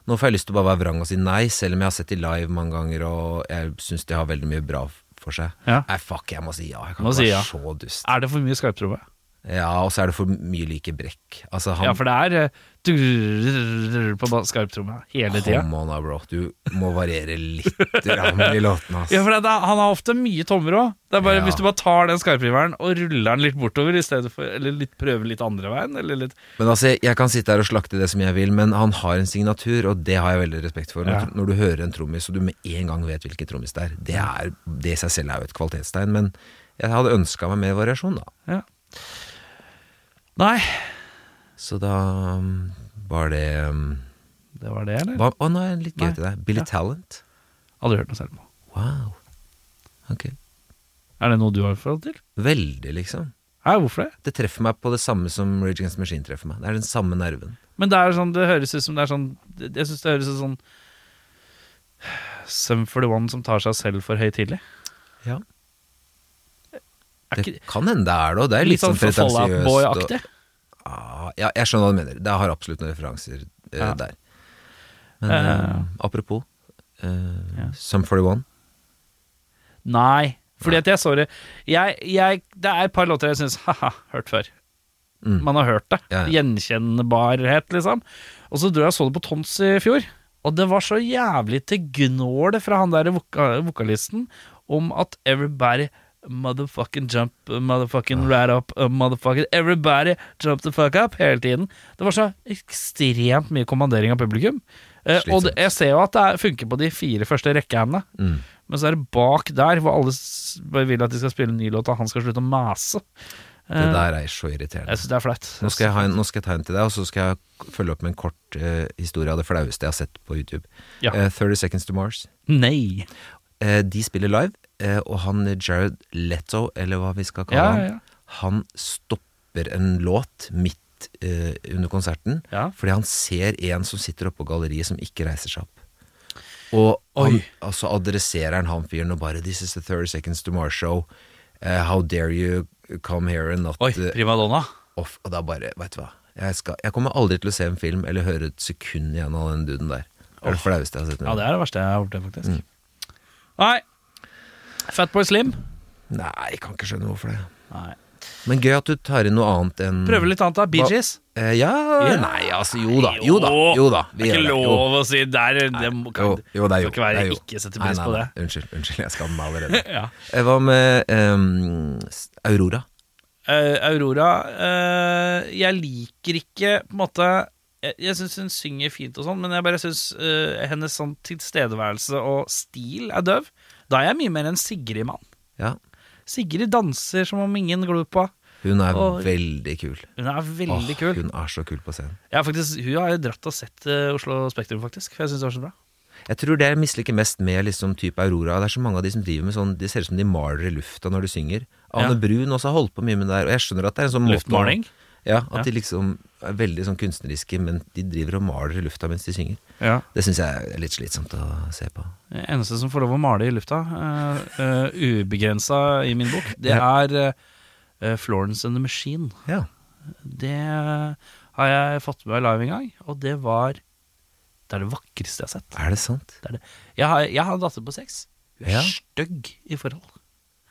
Speaker 3: Nå får jeg lyst til å bare være vrang og si nei, selv om jeg har sett de live mange ganger, og jeg syns de har veldig mye bra for seg.
Speaker 2: Ja.
Speaker 3: Nei, fuck, jeg må si ja. Jeg kan
Speaker 2: Må
Speaker 3: ikke
Speaker 2: si
Speaker 3: være
Speaker 2: ja.
Speaker 3: så dust.
Speaker 2: Er det for mye skarptromme?
Speaker 3: Ja, og så er det for mye like Brekk. Altså, han
Speaker 2: Ja, for det er eh, durr på ba- skarptromme hele tida.
Speaker 3: Come on, da, bro. Du må variere litt grann i låtene, ass.
Speaker 2: Ja, for det, det, han har ofte mye tommer òg. bare
Speaker 3: Ja.
Speaker 2: Hvis du bare tar den skarpriveren og ruller den litt bortover, i stedet for, eller litt, prøver litt andre veien eller litt,
Speaker 3: Men altså, jeg- jeg kan sitte her og slakte det som jeg vil, men han har en signatur, og det har jeg veldig respekt for. Når,
Speaker 2: Ja.
Speaker 3: når du hører en trommis, og du med en gang vet hvilken trommis det er, det er, det i seg selv er jo et kvalitetstegn, men jeg hadde ønska meg mer variasjon, da.
Speaker 2: ja. Nei,
Speaker 3: Så da um, var det um,
Speaker 2: det var det, eller?
Speaker 3: hva, Å, nå er det litt gøy
Speaker 2: Nei.
Speaker 3: til deg. Billy
Speaker 2: Ja.
Speaker 3: Talent.
Speaker 2: Aldri hørt noe selv på.
Speaker 3: Wow. Ok.
Speaker 2: Er det noe du har forhold til?
Speaker 3: Veldig, liksom.
Speaker 2: Hæ, hvorfor det?
Speaker 3: Det treffer meg på det samme som Rage Against the Machine treffer meg. Det er den samme nerven.
Speaker 2: Men det er sånn, det høres ut som det er sånn det- Jeg syns det høres ut som sånn Sum for the one som tar seg selv for høytidelig.
Speaker 3: Ja.
Speaker 2: Er
Speaker 3: Det
Speaker 2: ikke-
Speaker 3: kan hende det er det, og det er litt, sånn pretensiøst. og-
Speaker 2: Fallout-boy-aktig.
Speaker 3: Ah, ja, jeg skjønner hva du mener. Det har absolutt noen referanser eh,
Speaker 2: Ja.
Speaker 3: der. Men
Speaker 2: Eh.
Speaker 3: eh, apropos eh,
Speaker 2: Ja.
Speaker 3: Sum 41.
Speaker 2: Nei. Fordi at jeg så det jeg, jeg, Det er et par låter jeg syns ha-ha, hørt før.
Speaker 3: Mm.
Speaker 2: Man har hørt det.
Speaker 3: Ja, ja.
Speaker 2: Gjenkjennbarhet, liksom. Og så dro jeg og så det på Tons i fjor, og det var så jævlig til gnål fra han der voka vokalisten om at everybody Motherfucking jump,
Speaker 3: Ah.
Speaker 2: motherfucking right up, uh, motherfucking everybody jump the fuck up hele tiden. Det var så ekstremt mye kommandering av publikum. Eh, og det,
Speaker 3: Slitsomt.
Speaker 2: jeg ser jo at det er- funker på de fire første rekkehendene.
Speaker 3: Mm.
Speaker 2: Men så er det bak der, hvor alle s- bare vil at de skal spille en ny låt, og han skal slutte å mase.
Speaker 3: Det
Speaker 2: Eh,
Speaker 3: der er så
Speaker 2: Jeg
Speaker 3: irriterende.
Speaker 2: syns det er flaut.
Speaker 3: Nå skal, jeg ha en, nå skal jeg ta en til deg, og så skal jeg følge opp med en kort eh, historie av det flaueste jeg har sett på YouTube.
Speaker 2: Ja.
Speaker 3: Eh, 30 Seconds to Mars.
Speaker 2: Nei.
Speaker 3: Eh, de spiller live, eh, og han eh, Jared Leto, eller hva vi skal kalle
Speaker 2: Ja,
Speaker 3: han,
Speaker 2: ja, ja.
Speaker 3: han stopper en låt midt eh, under konserten,
Speaker 2: Ja.
Speaker 3: fordi han ser en som sitter oppe på galleriet som ikke reiser seg opp. Og han, altså adresserer han han fyren og bare 'This is the 30 seconds to Mars show'. Eh, how dare you come here and not
Speaker 2: Oi,
Speaker 3: eh,
Speaker 2: primadonna.
Speaker 3: off? Og da bare, vet du hva jeg, skal, jeg kommer aldri til å se en film eller høre et sekund igjen av den duden der. Det er det flaueste jeg har sett.
Speaker 2: Ja, det er det verste jeg har gjort, det, faktisk.
Speaker 3: Mm.
Speaker 2: Nei. Fatboy Slim.
Speaker 3: Nei, jeg kan ikke skjønne hvorfor det.
Speaker 2: Nei.
Speaker 3: Men gøy at du tar inn noe annet enn
Speaker 2: Prøve litt annet, da. Bee
Speaker 3: Hva-
Speaker 2: Gees.
Speaker 3: Eh, ja,
Speaker 2: Ja.
Speaker 3: Nei, altså jo da. Jo da. Jo da. vi
Speaker 2: det er ikke
Speaker 3: gjør det. Jo.
Speaker 2: lov å si der. Det må,
Speaker 3: Jo,
Speaker 2: kan,
Speaker 3: jo, det er jo.
Speaker 2: kan ikke være
Speaker 3: det Eh, er jo.
Speaker 2: ikke sette
Speaker 3: Nei,
Speaker 2: pris
Speaker 3: nei,
Speaker 2: på
Speaker 3: nei.
Speaker 2: det.
Speaker 3: Unnskyld, unnskyld, jeg skammer meg allerede.
Speaker 2: Ja.
Speaker 3: Eh, Hva med ehm, s- Aurora?
Speaker 2: eh, Aurora eh, Jeg liker ikke på en måte Jeg, jeg syns hun synger fint og sånn, men jeg bare syns hennes sånn tilstedeværelse og stil er døv. Da er jeg mye mer en Sigrid-mann.
Speaker 3: Ja.
Speaker 2: Sigrid danser som om ingen glor på.
Speaker 3: Hun er
Speaker 2: Og-
Speaker 3: veldig kul.
Speaker 2: Hun er veldig
Speaker 3: Åh,
Speaker 2: kul.
Speaker 3: Hun er så kul på scenen.
Speaker 2: Jeg har faktisk, hun har jo dratt og sett eh, Oslo Spektrum, faktisk. For jeg syns det var så bra.
Speaker 3: Jeg tror det jeg misliker mest med liksom type Aurora, det er så mange av de som driver med sånn De ser ut som de maler i lufta når de synger. Ane
Speaker 2: Ja.
Speaker 3: Brun også har holdt på mye med det der, og jeg skjønner at det er en sånn måte å-
Speaker 2: Luftmaling?
Speaker 3: Ja, at
Speaker 2: Ja.
Speaker 3: de liksom er veldig sånn kunstneriske, men de driver og maler i lufta mens de synger.
Speaker 2: Ja.
Speaker 3: Det syns jeg er litt slitsomt å se på.
Speaker 2: Eneste som får lov å male i lufta, uh, ubegrensa i min bok, det er eh, Florence and the Machine.
Speaker 3: Ja.
Speaker 2: Det har jeg fått med meg live en gang, og det var Det er det vakreste jeg har sett.
Speaker 3: Er det sant?
Speaker 2: Det er det. Jeg, har, jeg har en datter på seks. Hun er
Speaker 3: Ja.
Speaker 2: stygg i forhold.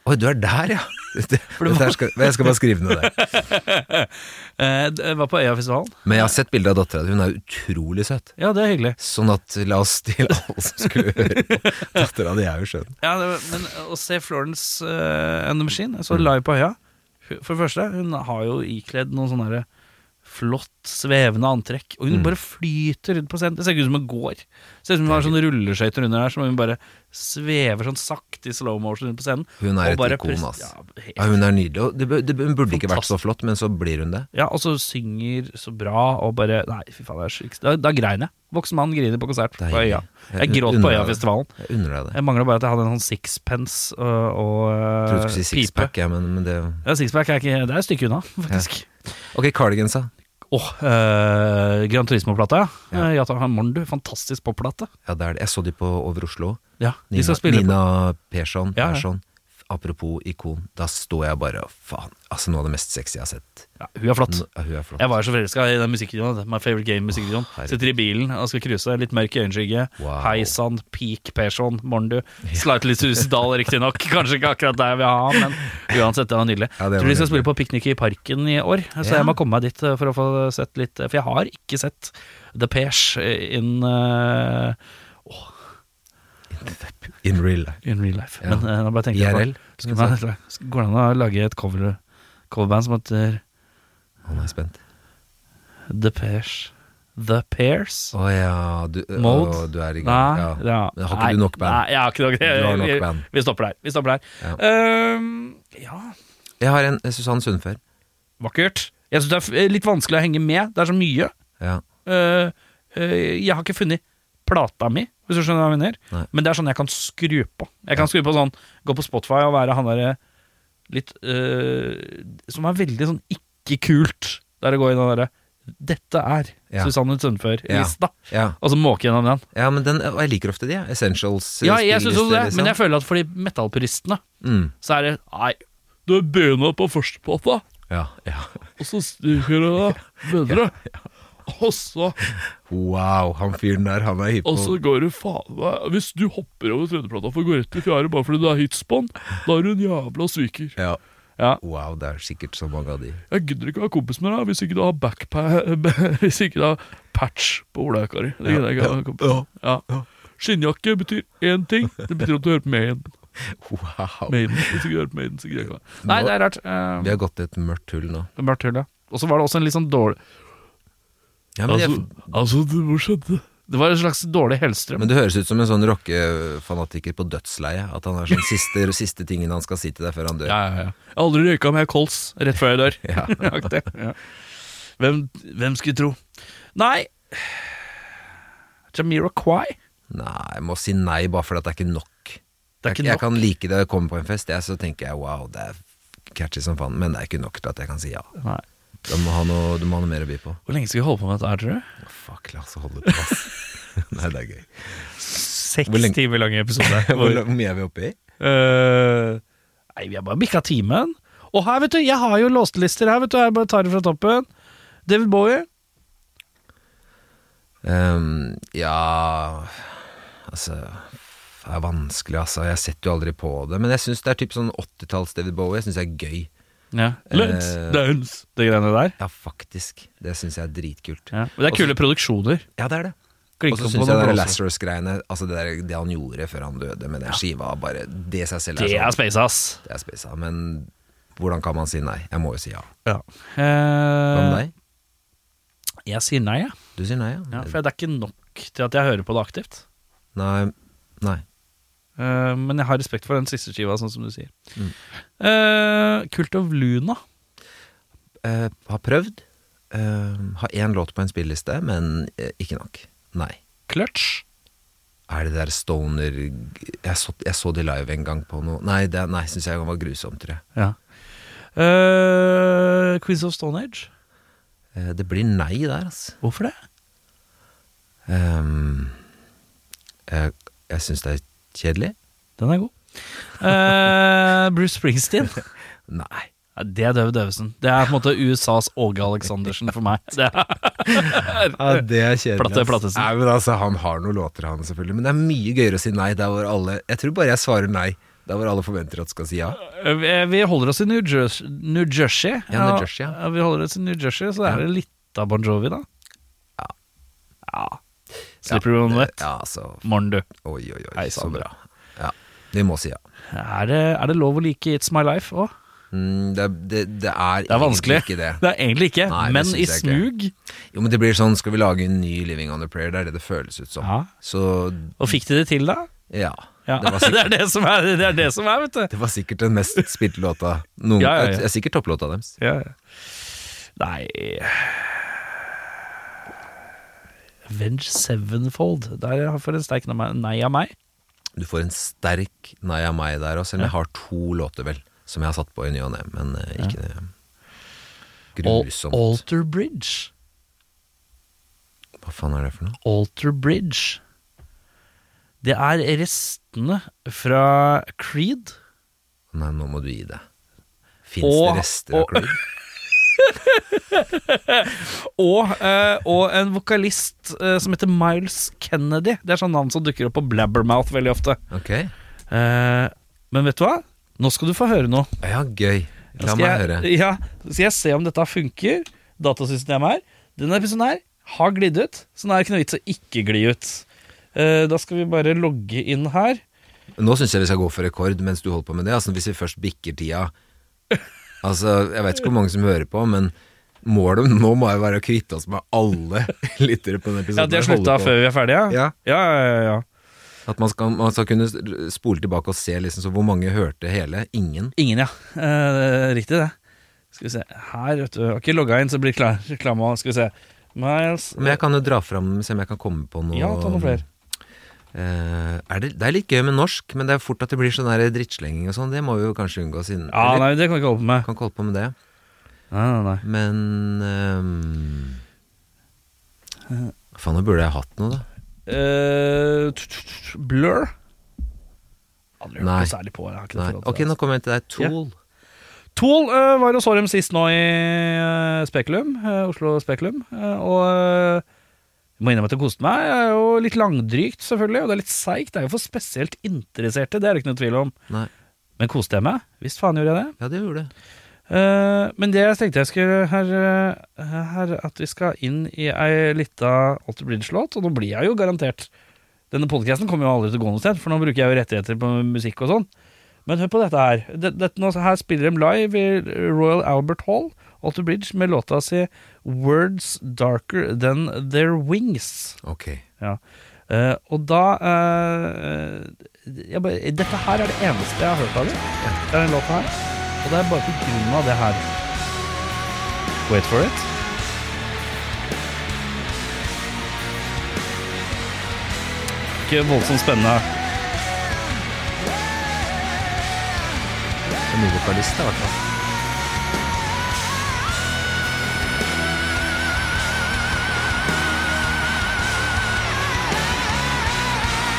Speaker 3: Oi, du er der, ja! Dette, dette her skal, jeg skal bare skrive ned det.
Speaker 2: Eh, det var på Øyafestivalen.
Speaker 3: Men jeg har sett bilde av dattera di, hun er utrolig søt.
Speaker 2: Ja, det er hyggelig.
Speaker 3: Sånn at la oss til alle som skulle høre på. Dattera di er jo skjønn.
Speaker 2: Ja, det, var- men å se Florence eh, and the Machine, jeg så live på Øya Hun- For det første, hun har jo ikledd noen sånne her flott svevende antrekk, og hun
Speaker 3: Mm.
Speaker 2: bare flyter rundt på scenen. Det ser ikke ut som hun går. Det ser ut som hun har sånne rulleskøyter under her, som hun bare svever sånn sakte i slow motion rundt på scenen.
Speaker 3: Hun
Speaker 2: og
Speaker 3: er et
Speaker 2: bare
Speaker 3: ikon,
Speaker 2: pres-
Speaker 3: ass.
Speaker 2: Ja, helt
Speaker 3: Ja, hun er nydelig. Og det, bør- det, bør- hun burde ikke vært så flott, men så blir hun det.
Speaker 2: Ja, og så synger så bra og bare Nei, fy faen, det er sjukt. Da, da grein jeg. Voksen mann griner på konsert på
Speaker 3: Det er
Speaker 2: Øya.
Speaker 3: hyggelig.
Speaker 2: Jeg gråt
Speaker 3: Unner
Speaker 2: på
Speaker 3: deg det.
Speaker 2: Øyafestivalen.
Speaker 3: Jeg unner deg det.
Speaker 2: Jeg mangler bare at jeg hadde en sånn sixpence og, og
Speaker 3: Jeg trodde du skulle si
Speaker 2: eh, pipe.
Speaker 3: sixpack, ja, men, men det
Speaker 2: Ja, sixpack er ikke Det er et stykke unna, faktisk.
Speaker 3: Ok, cardigans, da.
Speaker 2: Åh, eh, Gran Turismo-plata, ja.
Speaker 3: Ja.
Speaker 2: Eh, Jata Morn, du. Fantastisk popplate.
Speaker 3: Ja, det er det. Jeg så de på Over Oslo.
Speaker 2: Ja, de
Speaker 3: Nina,
Speaker 2: skal spille på-
Speaker 3: Nina Persson.
Speaker 2: Ja, ja.
Speaker 3: Persson. Apropos ikon, da står jeg bare Faen, altså noe av det mest sexy jeg har sett.
Speaker 2: ja, Hun er flott.
Speaker 3: Nå- Ja, hun er flott.
Speaker 2: Jeg var jo så forelska i den musikkvideoen. My favorite game-musikkvideoen.
Speaker 3: herregud.
Speaker 2: Sitter i bilen og skal cruise. Litt mørk øyenskygge.
Speaker 3: Wow.
Speaker 2: Hei sann, peak Persson, Morndu. Slightly suicidal, riktignok. Kanskje ikke akkurat der jeg vil ha, han, men uansett, det var nydelig.
Speaker 3: Ja, det var
Speaker 2: Tror de skal
Speaker 3: nydelig.
Speaker 2: spille på Piknik i Parken i år, så
Speaker 3: Ja.
Speaker 2: jeg må komme meg dit eh, for å få sett litt eh, For jeg har ikke sett The Pesh in, eh,
Speaker 3: In real life.
Speaker 2: in real life.
Speaker 3: Ja.
Speaker 2: Men eh, nå bare tenker jeg
Speaker 3: IRL.
Speaker 2: på Skulle man- Går det an å lage et cover, coverband som heter
Speaker 3: Å, nå er jeg spent.
Speaker 2: The Pesh The Pairs?
Speaker 3: Å ja, du, å,
Speaker 2: Mode?
Speaker 3: du er i gang.
Speaker 2: Nei,
Speaker 3: Ja.
Speaker 2: ja.
Speaker 3: Men har ikke du
Speaker 2: Nei,
Speaker 3: nok band?
Speaker 2: Nei, jeg har ikke nok
Speaker 3: Du har nok
Speaker 2: Vi-
Speaker 3: band.
Speaker 2: Vi stopper der. Vi stopper der.
Speaker 3: Ja.
Speaker 2: Ehm, ja,
Speaker 3: Jeg har en eh, Susann Sundfør.
Speaker 2: vakkert. Jeg syns det er f- eh, litt vanskelig å henge med. Det er så mye.
Speaker 3: Ja.
Speaker 2: Eh, eh, jeg har ikke funnet plata mi, hvis du skjønner hva jeg mener.
Speaker 3: Nei.
Speaker 2: Men det er sånn jeg kan skru på. Jeg kan skru på sånn, gå på Spotify og være han derre litt eh, Som er veldig sånn ikke kult, der det går i den derre Dette er
Speaker 3: Ja.
Speaker 2: Susanne Sundfør-lista.
Speaker 3: Ja.
Speaker 2: Og så måke gjennom den.
Speaker 3: ja, men den Og jeg liker ofte de, ja. Essentials. eh,
Speaker 2: Ja, jeg synes også
Speaker 3: spillelister,
Speaker 2: det, men jeg
Speaker 3: liksom.
Speaker 2: føler at for de metallpuristene
Speaker 3: mm.
Speaker 2: så er det Nei, du begynner på førsteplata,
Speaker 3: Ja, ja.
Speaker 2: og så stiger det bedre. Og så,
Speaker 3: Wow, han fyren der, han er hypp
Speaker 4: Og
Speaker 3: på
Speaker 4: så Altså, går du faen meg Hvis du hopper over tredjeplata for å gå rett til fjerde bare fordi det er hits på den, da er du en jævla sviker.
Speaker 3: ja.
Speaker 2: Ja.
Speaker 3: Wow, det er sikkert så mange av de.
Speaker 4: Jeg gidder ikke å være kompis med deg hvis ikke du har backpa- Hvis ikke du har patch på oljakka di. Det gidder jeg ikke å være kompis med. Ja. Skinnjakke betyr én ting. Det betyr at du hører på Maiden.
Speaker 3: Wow.
Speaker 4: Maiden. Hvis ikke du hører på Maiden, så gidder jeg ikke å være
Speaker 2: Nei, det er rart.
Speaker 3: Vi
Speaker 2: Uh,
Speaker 3: har gått i et mørkt hull nå.
Speaker 2: Mørkt hull, ja. Og så var det også en litt sånn dårlig
Speaker 3: Ja, men,
Speaker 4: Altså,
Speaker 3: jeg,
Speaker 4: altså det, hvor skjedde det?
Speaker 2: Det var en slags dårlig Hellstrøm.
Speaker 3: men du høres ut som en sånn rockefanatiker på dødsleie. At han er sånn siste, siste tingen han skal si til deg før han dør.
Speaker 2: Ja, ja, ja. Jeg har aldri røyka med kols rett før jeg dør.
Speaker 3: Ja.
Speaker 2: Aktig, ja. Hvem, hvem skulle tro? Nei Jamiroquai.
Speaker 3: Nei, jeg må si nei bare fordi at det er ikke nok.
Speaker 2: Det er ikke
Speaker 3: jeg, jeg
Speaker 2: nok.
Speaker 3: kan like det å komme på en fest, jeg, så tenker jeg wow, det er catchy som faen, men det er ikke nok til at jeg kan si ja.
Speaker 2: Nei.
Speaker 3: Du må ha noe, du må ha noe mer å by på.
Speaker 2: Hvor lenge skal vi holde på med dette, her, tror du?
Speaker 3: Fuck, la oss holde på, ass. nei, det er gøy. Hvor
Speaker 2: Seks
Speaker 3: lenge-
Speaker 2: timer lang episode.
Speaker 3: Hvor lang- hvor mye er vi oppe i?
Speaker 2: Eh, Nei, vi har bare bikka timen. Og her, vet du, jeg har jo låstelister her, vet du. Jeg bare tar det fra toppen. David Bowie.
Speaker 3: Ehm, ja Altså Det er vanskelig, altså. Jeg setter jo aldri på det. Men jeg syns det er typ sånn 80-talls David Bowie. Jeg syns det er gøy.
Speaker 2: Ja.
Speaker 4: Let's
Speaker 3: Eh,
Speaker 4: dance.
Speaker 2: Det greiene der.
Speaker 3: Ja, faktisk. Det syns jeg er dritkult.
Speaker 2: Ja. Og det er kule produksjoner.
Speaker 3: Ja, det er det. Og så
Speaker 2: Klinker på
Speaker 3: syns jeg
Speaker 2: noen
Speaker 3: det der
Speaker 2: blåser.
Speaker 3: Lazarus-greiene, altså det, der, det han gjorde før han døde med den skiva, bare Det i seg selv
Speaker 2: Det
Speaker 3: er
Speaker 2: er
Speaker 3: sånn.
Speaker 2: space, ass.
Speaker 3: Det er spesa. Men Hvordan kan man si nei? Jeg må jo si ja.
Speaker 2: Ja.
Speaker 3: Hva med
Speaker 2: Eh,
Speaker 3: deg?
Speaker 2: jeg sier nei, jeg.
Speaker 3: Du sier nei, ja.
Speaker 2: Ja, for det er ikke nok til at jeg hører på det aktivt.
Speaker 3: Nei, nei.
Speaker 2: Eh, men jeg har respekt for den siste skiva, sånn som du sier.
Speaker 3: Mm.
Speaker 2: Eh, Kult of Luna.
Speaker 3: Eh, har prøvd. Eh, har én låt på en spilleliste, men eh, ikke nok. Nei.
Speaker 2: Clutch.
Speaker 3: Er det der Stoner Jeg så, jeg så de live en gang på noe Nei, det nei, syns jeg var grusomt, tror jeg.
Speaker 2: Ja. Eh, Quiz of Stone Age.
Speaker 3: Eh, det blir nei der, altså.
Speaker 2: Hvorfor det?
Speaker 3: Ehm, jeg jeg syns det er kjedelig.
Speaker 2: Den er god. Eh, Bruce Springsteen.
Speaker 3: Nei.
Speaker 2: Ja, Det er Døv Døvesen. Det er på en måte USAs Åge Aleksandersen for meg. Det er,
Speaker 3: Ja, det er kjedelig.
Speaker 2: Platte-
Speaker 3: ass.
Speaker 2: Plattesen.
Speaker 3: Nei, men altså, han har noen låter, han selvfølgelig. Men det er mye gøyere å si nei der hvor alle Jeg tror bare jeg svarer nei der hvor alle forventer at skal si ja.
Speaker 2: Eh, vi holder oss i New Jersey. New Jersey.
Speaker 3: Ja, New Jersey, ja.
Speaker 2: Vi holder oss i New Jersey, så er det litt av Bon Jovi, da.
Speaker 3: Ja.
Speaker 2: ja. Slipper du noen vett?
Speaker 3: Ja, altså
Speaker 2: Morn, du.
Speaker 3: Oi, oi, oi.
Speaker 2: Nei, så
Speaker 3: så
Speaker 2: bra.
Speaker 3: bra. Ja, vi må si ja.
Speaker 2: Er det, er det lov å like It's My Life òg?
Speaker 3: Mm, det, er- det, det er
Speaker 2: Det er vanskelig.
Speaker 3: egentlig ikke det.
Speaker 2: Det er egentlig ikke,
Speaker 3: Nei, det
Speaker 2: men
Speaker 3: synes
Speaker 2: i
Speaker 3: jeg
Speaker 2: smug.
Speaker 3: Jo, men det blir sånn, skal vi lage en ny Living on a Prayer? Det er det det føles ut som.
Speaker 2: Ja.
Speaker 3: Så
Speaker 2: Og fikk de det til, da?
Speaker 3: ja.
Speaker 2: Ja.
Speaker 3: Det, var
Speaker 2: Det,
Speaker 3: sikkert,
Speaker 2: er det, som er, det er det som er, vet du.
Speaker 3: det var sikkert den mest spilte låta noen
Speaker 2: Ja, ja, ja.
Speaker 3: Det er sikkert topplåta deres.
Speaker 2: Ja. Nei Avenge Sevenfold. Der har for en sterk nei nei av meg.
Speaker 3: Du får en sterk nei av meg der òg, selv om jeg har to låter, vel, som jeg har satt på i ny og ne, men eh, ikke det
Speaker 2: Al
Speaker 3: Grusomt.
Speaker 2: Alter Bridge.
Speaker 3: Hva faen er det for noe?
Speaker 2: Alter Bridge. Det er restene fra Creed.
Speaker 3: Nei, nå må du gi deg. Fins
Speaker 2: Og-
Speaker 3: det rester av
Speaker 2: og-
Speaker 3: Creed?
Speaker 2: Og, eh, og en vokalist eh, som heter Miles Kennedy. Det er sånn navn som dukker opp på Blabbermouth veldig ofte.
Speaker 3: Ok.
Speaker 2: Eh, men vet du hva? Nå skal du få høre noe.
Speaker 3: Ja, gøy.
Speaker 2: Nå
Speaker 3: La
Speaker 2: skal
Speaker 3: meg
Speaker 2: jeg-
Speaker 3: høre.
Speaker 2: Ja, så skal jeg se om dette funker. Datasystemet her. Denne episoden her har glidd ut, så nå er det ikke noe vits å ikke gli ut. Eh, da skal vi bare logge inn her.
Speaker 3: Nå syns jeg vi skal gå for rekord mens du holder på med det. Altså, hvis vi først bikker tida Altså, Jeg vet ikke hvor mange som hører på, men målet nå må jo være å kvitte oss med alle lyttere på denne
Speaker 2: Ja,
Speaker 3: episoden.
Speaker 2: De har
Speaker 3: her, holde
Speaker 2: slutta
Speaker 3: på.
Speaker 2: før vi er ferdige?
Speaker 3: Ja.
Speaker 2: ja, ja, ja, ja.
Speaker 3: At man skal, man skal kunne spole tilbake og se liksom, så hvor mange hørte hele. Ingen.
Speaker 2: Ingen, ja. Eh, riktig, det. Skal vi se Her, vet du. Jeg har ikke logga inn, så blir det klar- reklame. Skal vi se. Miles
Speaker 3: Men jeg kan jo dra fram, se om jeg kan komme på noe.
Speaker 2: Ja, ta noen flere.
Speaker 3: Eh, er det, det er litt gøy med norsk, men det er fort at det blir sånn der drittslenging og sånn. Det må vi jo kanskje unngå, siden
Speaker 2: Ja,
Speaker 3: eller,
Speaker 2: nei, det kan vi ikke holde på med.
Speaker 3: Kan ikke holde på med det.
Speaker 2: Nei, nei, nei.
Speaker 3: Men ehm, Faen, nå burde jeg hatt noe, da.
Speaker 2: Eh, t- t- t- Blur? Aldri hørt
Speaker 3: Nei.
Speaker 2: noe særlig på. Jeg har ikke noe
Speaker 3: Nei.
Speaker 2: forhold til
Speaker 3: Ok,
Speaker 2: det,
Speaker 3: nå kommer jeg til deg.
Speaker 2: Ja.
Speaker 3: Tool.
Speaker 2: Tool eh, var hos Årem sist nå i eh, Spekulum, eh, Oslo Spekulum. eh, og eh, jeg må innrømme at det koste meg. Det er jo litt langdrygt, selvfølgelig, og det er litt seigt. Det er jo for spesielt interesserte, det er det ikke noe tvil om.
Speaker 3: Nei.
Speaker 2: Men koste jeg meg? Visst faen gjorde jeg det.
Speaker 3: Ja, det gjorde det.
Speaker 2: Eh, men det jeg tenkte jeg skulle her, eh, her At vi skal inn i ei lita Alter Bridge-låt, og nå blir jeg jo garantert Denne podkasten kommer jo aldri til å gå noe sted, for nå bruker jeg jo rettigheter på musikk og sånn. Men hør på dette her. Det- Dette, nå- her spiller de live i Royal Albert Hall, Alter Bridge, med låta si 'Words Darker Than Their Wings'.
Speaker 3: Ok.
Speaker 2: Ja. Eh, og da eh, jeg bare, Dette her er det eneste jeg har hørt av dem. Det er den låta her. Og det er bare på grunn av det her. Wait for it. Ikke voldsomt spennende.
Speaker 3: En ny vokalist, i hvert fall.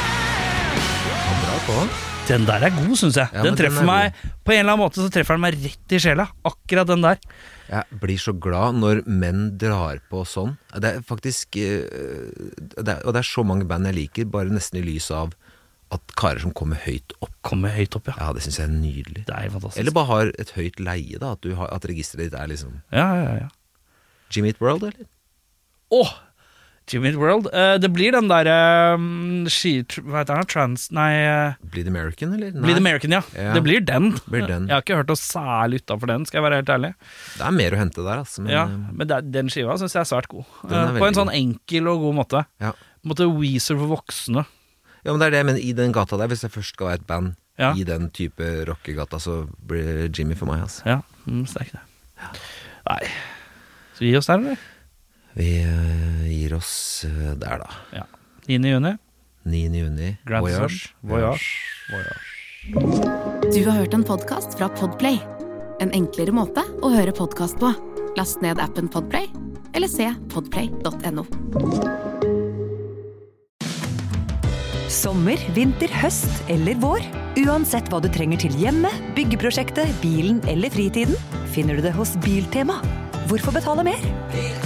Speaker 3: Han drar på.
Speaker 2: Den der er god, syns jeg.
Speaker 3: Ja, men
Speaker 2: den treffer
Speaker 3: den er
Speaker 2: meg På en eller annen måte så treffer den meg rett i sjela. Akkurat den der.
Speaker 3: Jeg blir så glad når menn drar på sånn. Det er faktisk eh, det er, Og det er så mange band jeg liker, bare nesten i lys av at karer som kommer høyt opp.
Speaker 2: Kommer høyt opp, ja.
Speaker 3: Ja, det syns jeg er nydelig.
Speaker 2: Det er helt fantastisk.
Speaker 3: Eller bare har et høyt leie, da. At, du har, at registeret ditt er liksom
Speaker 2: ja, ja, ja.
Speaker 3: Jimmy Eat World, eller?
Speaker 2: Åh! To Minute World. Eh, det blir den derre um, Hva heter den? Trans... Nei, eh,
Speaker 3: Bleed American, eller? Nei.
Speaker 2: Bleed American, ja.
Speaker 3: Ja.
Speaker 2: Det blir den.
Speaker 3: Blir den.
Speaker 2: Jeg har ikke hørt noe særlig utafor den, skal jeg være helt ærlig.
Speaker 3: Det er mer å hente der, altså. Men,
Speaker 2: ja,
Speaker 3: eh,
Speaker 2: men det, den skiva syns jeg er svært god.
Speaker 3: Den er
Speaker 2: Eh, på
Speaker 3: veldig
Speaker 2: en sånn enkel og god måte.
Speaker 3: Ja.
Speaker 2: På en måte Weezer for voksne.
Speaker 3: ja, men det er det, men i den gata der, hvis jeg først skal være et band
Speaker 2: Ja.
Speaker 3: i den type rockegata, så blir Jimmy for meg, altså.
Speaker 2: Ja, mm, sterk det. Nei Skal vi gi oss der, eller?
Speaker 3: Vi eh, gir oss eh, der, da.
Speaker 2: Ja. 9. juni.
Speaker 3: 9. juni.
Speaker 2: Grandson. Voyage.
Speaker 1: Du har hørt en podkast fra Podplay. En enklere måte å høre podkast på. Last ned appen Podplay, eller se podplay.no.
Speaker 5: Sommer, vinter, høst eller vår. Uansett hva du trenger til hjemme, byggeprosjektet, bilen eller fritiden, finner du det hos Biltema. Hvorfor betale mer?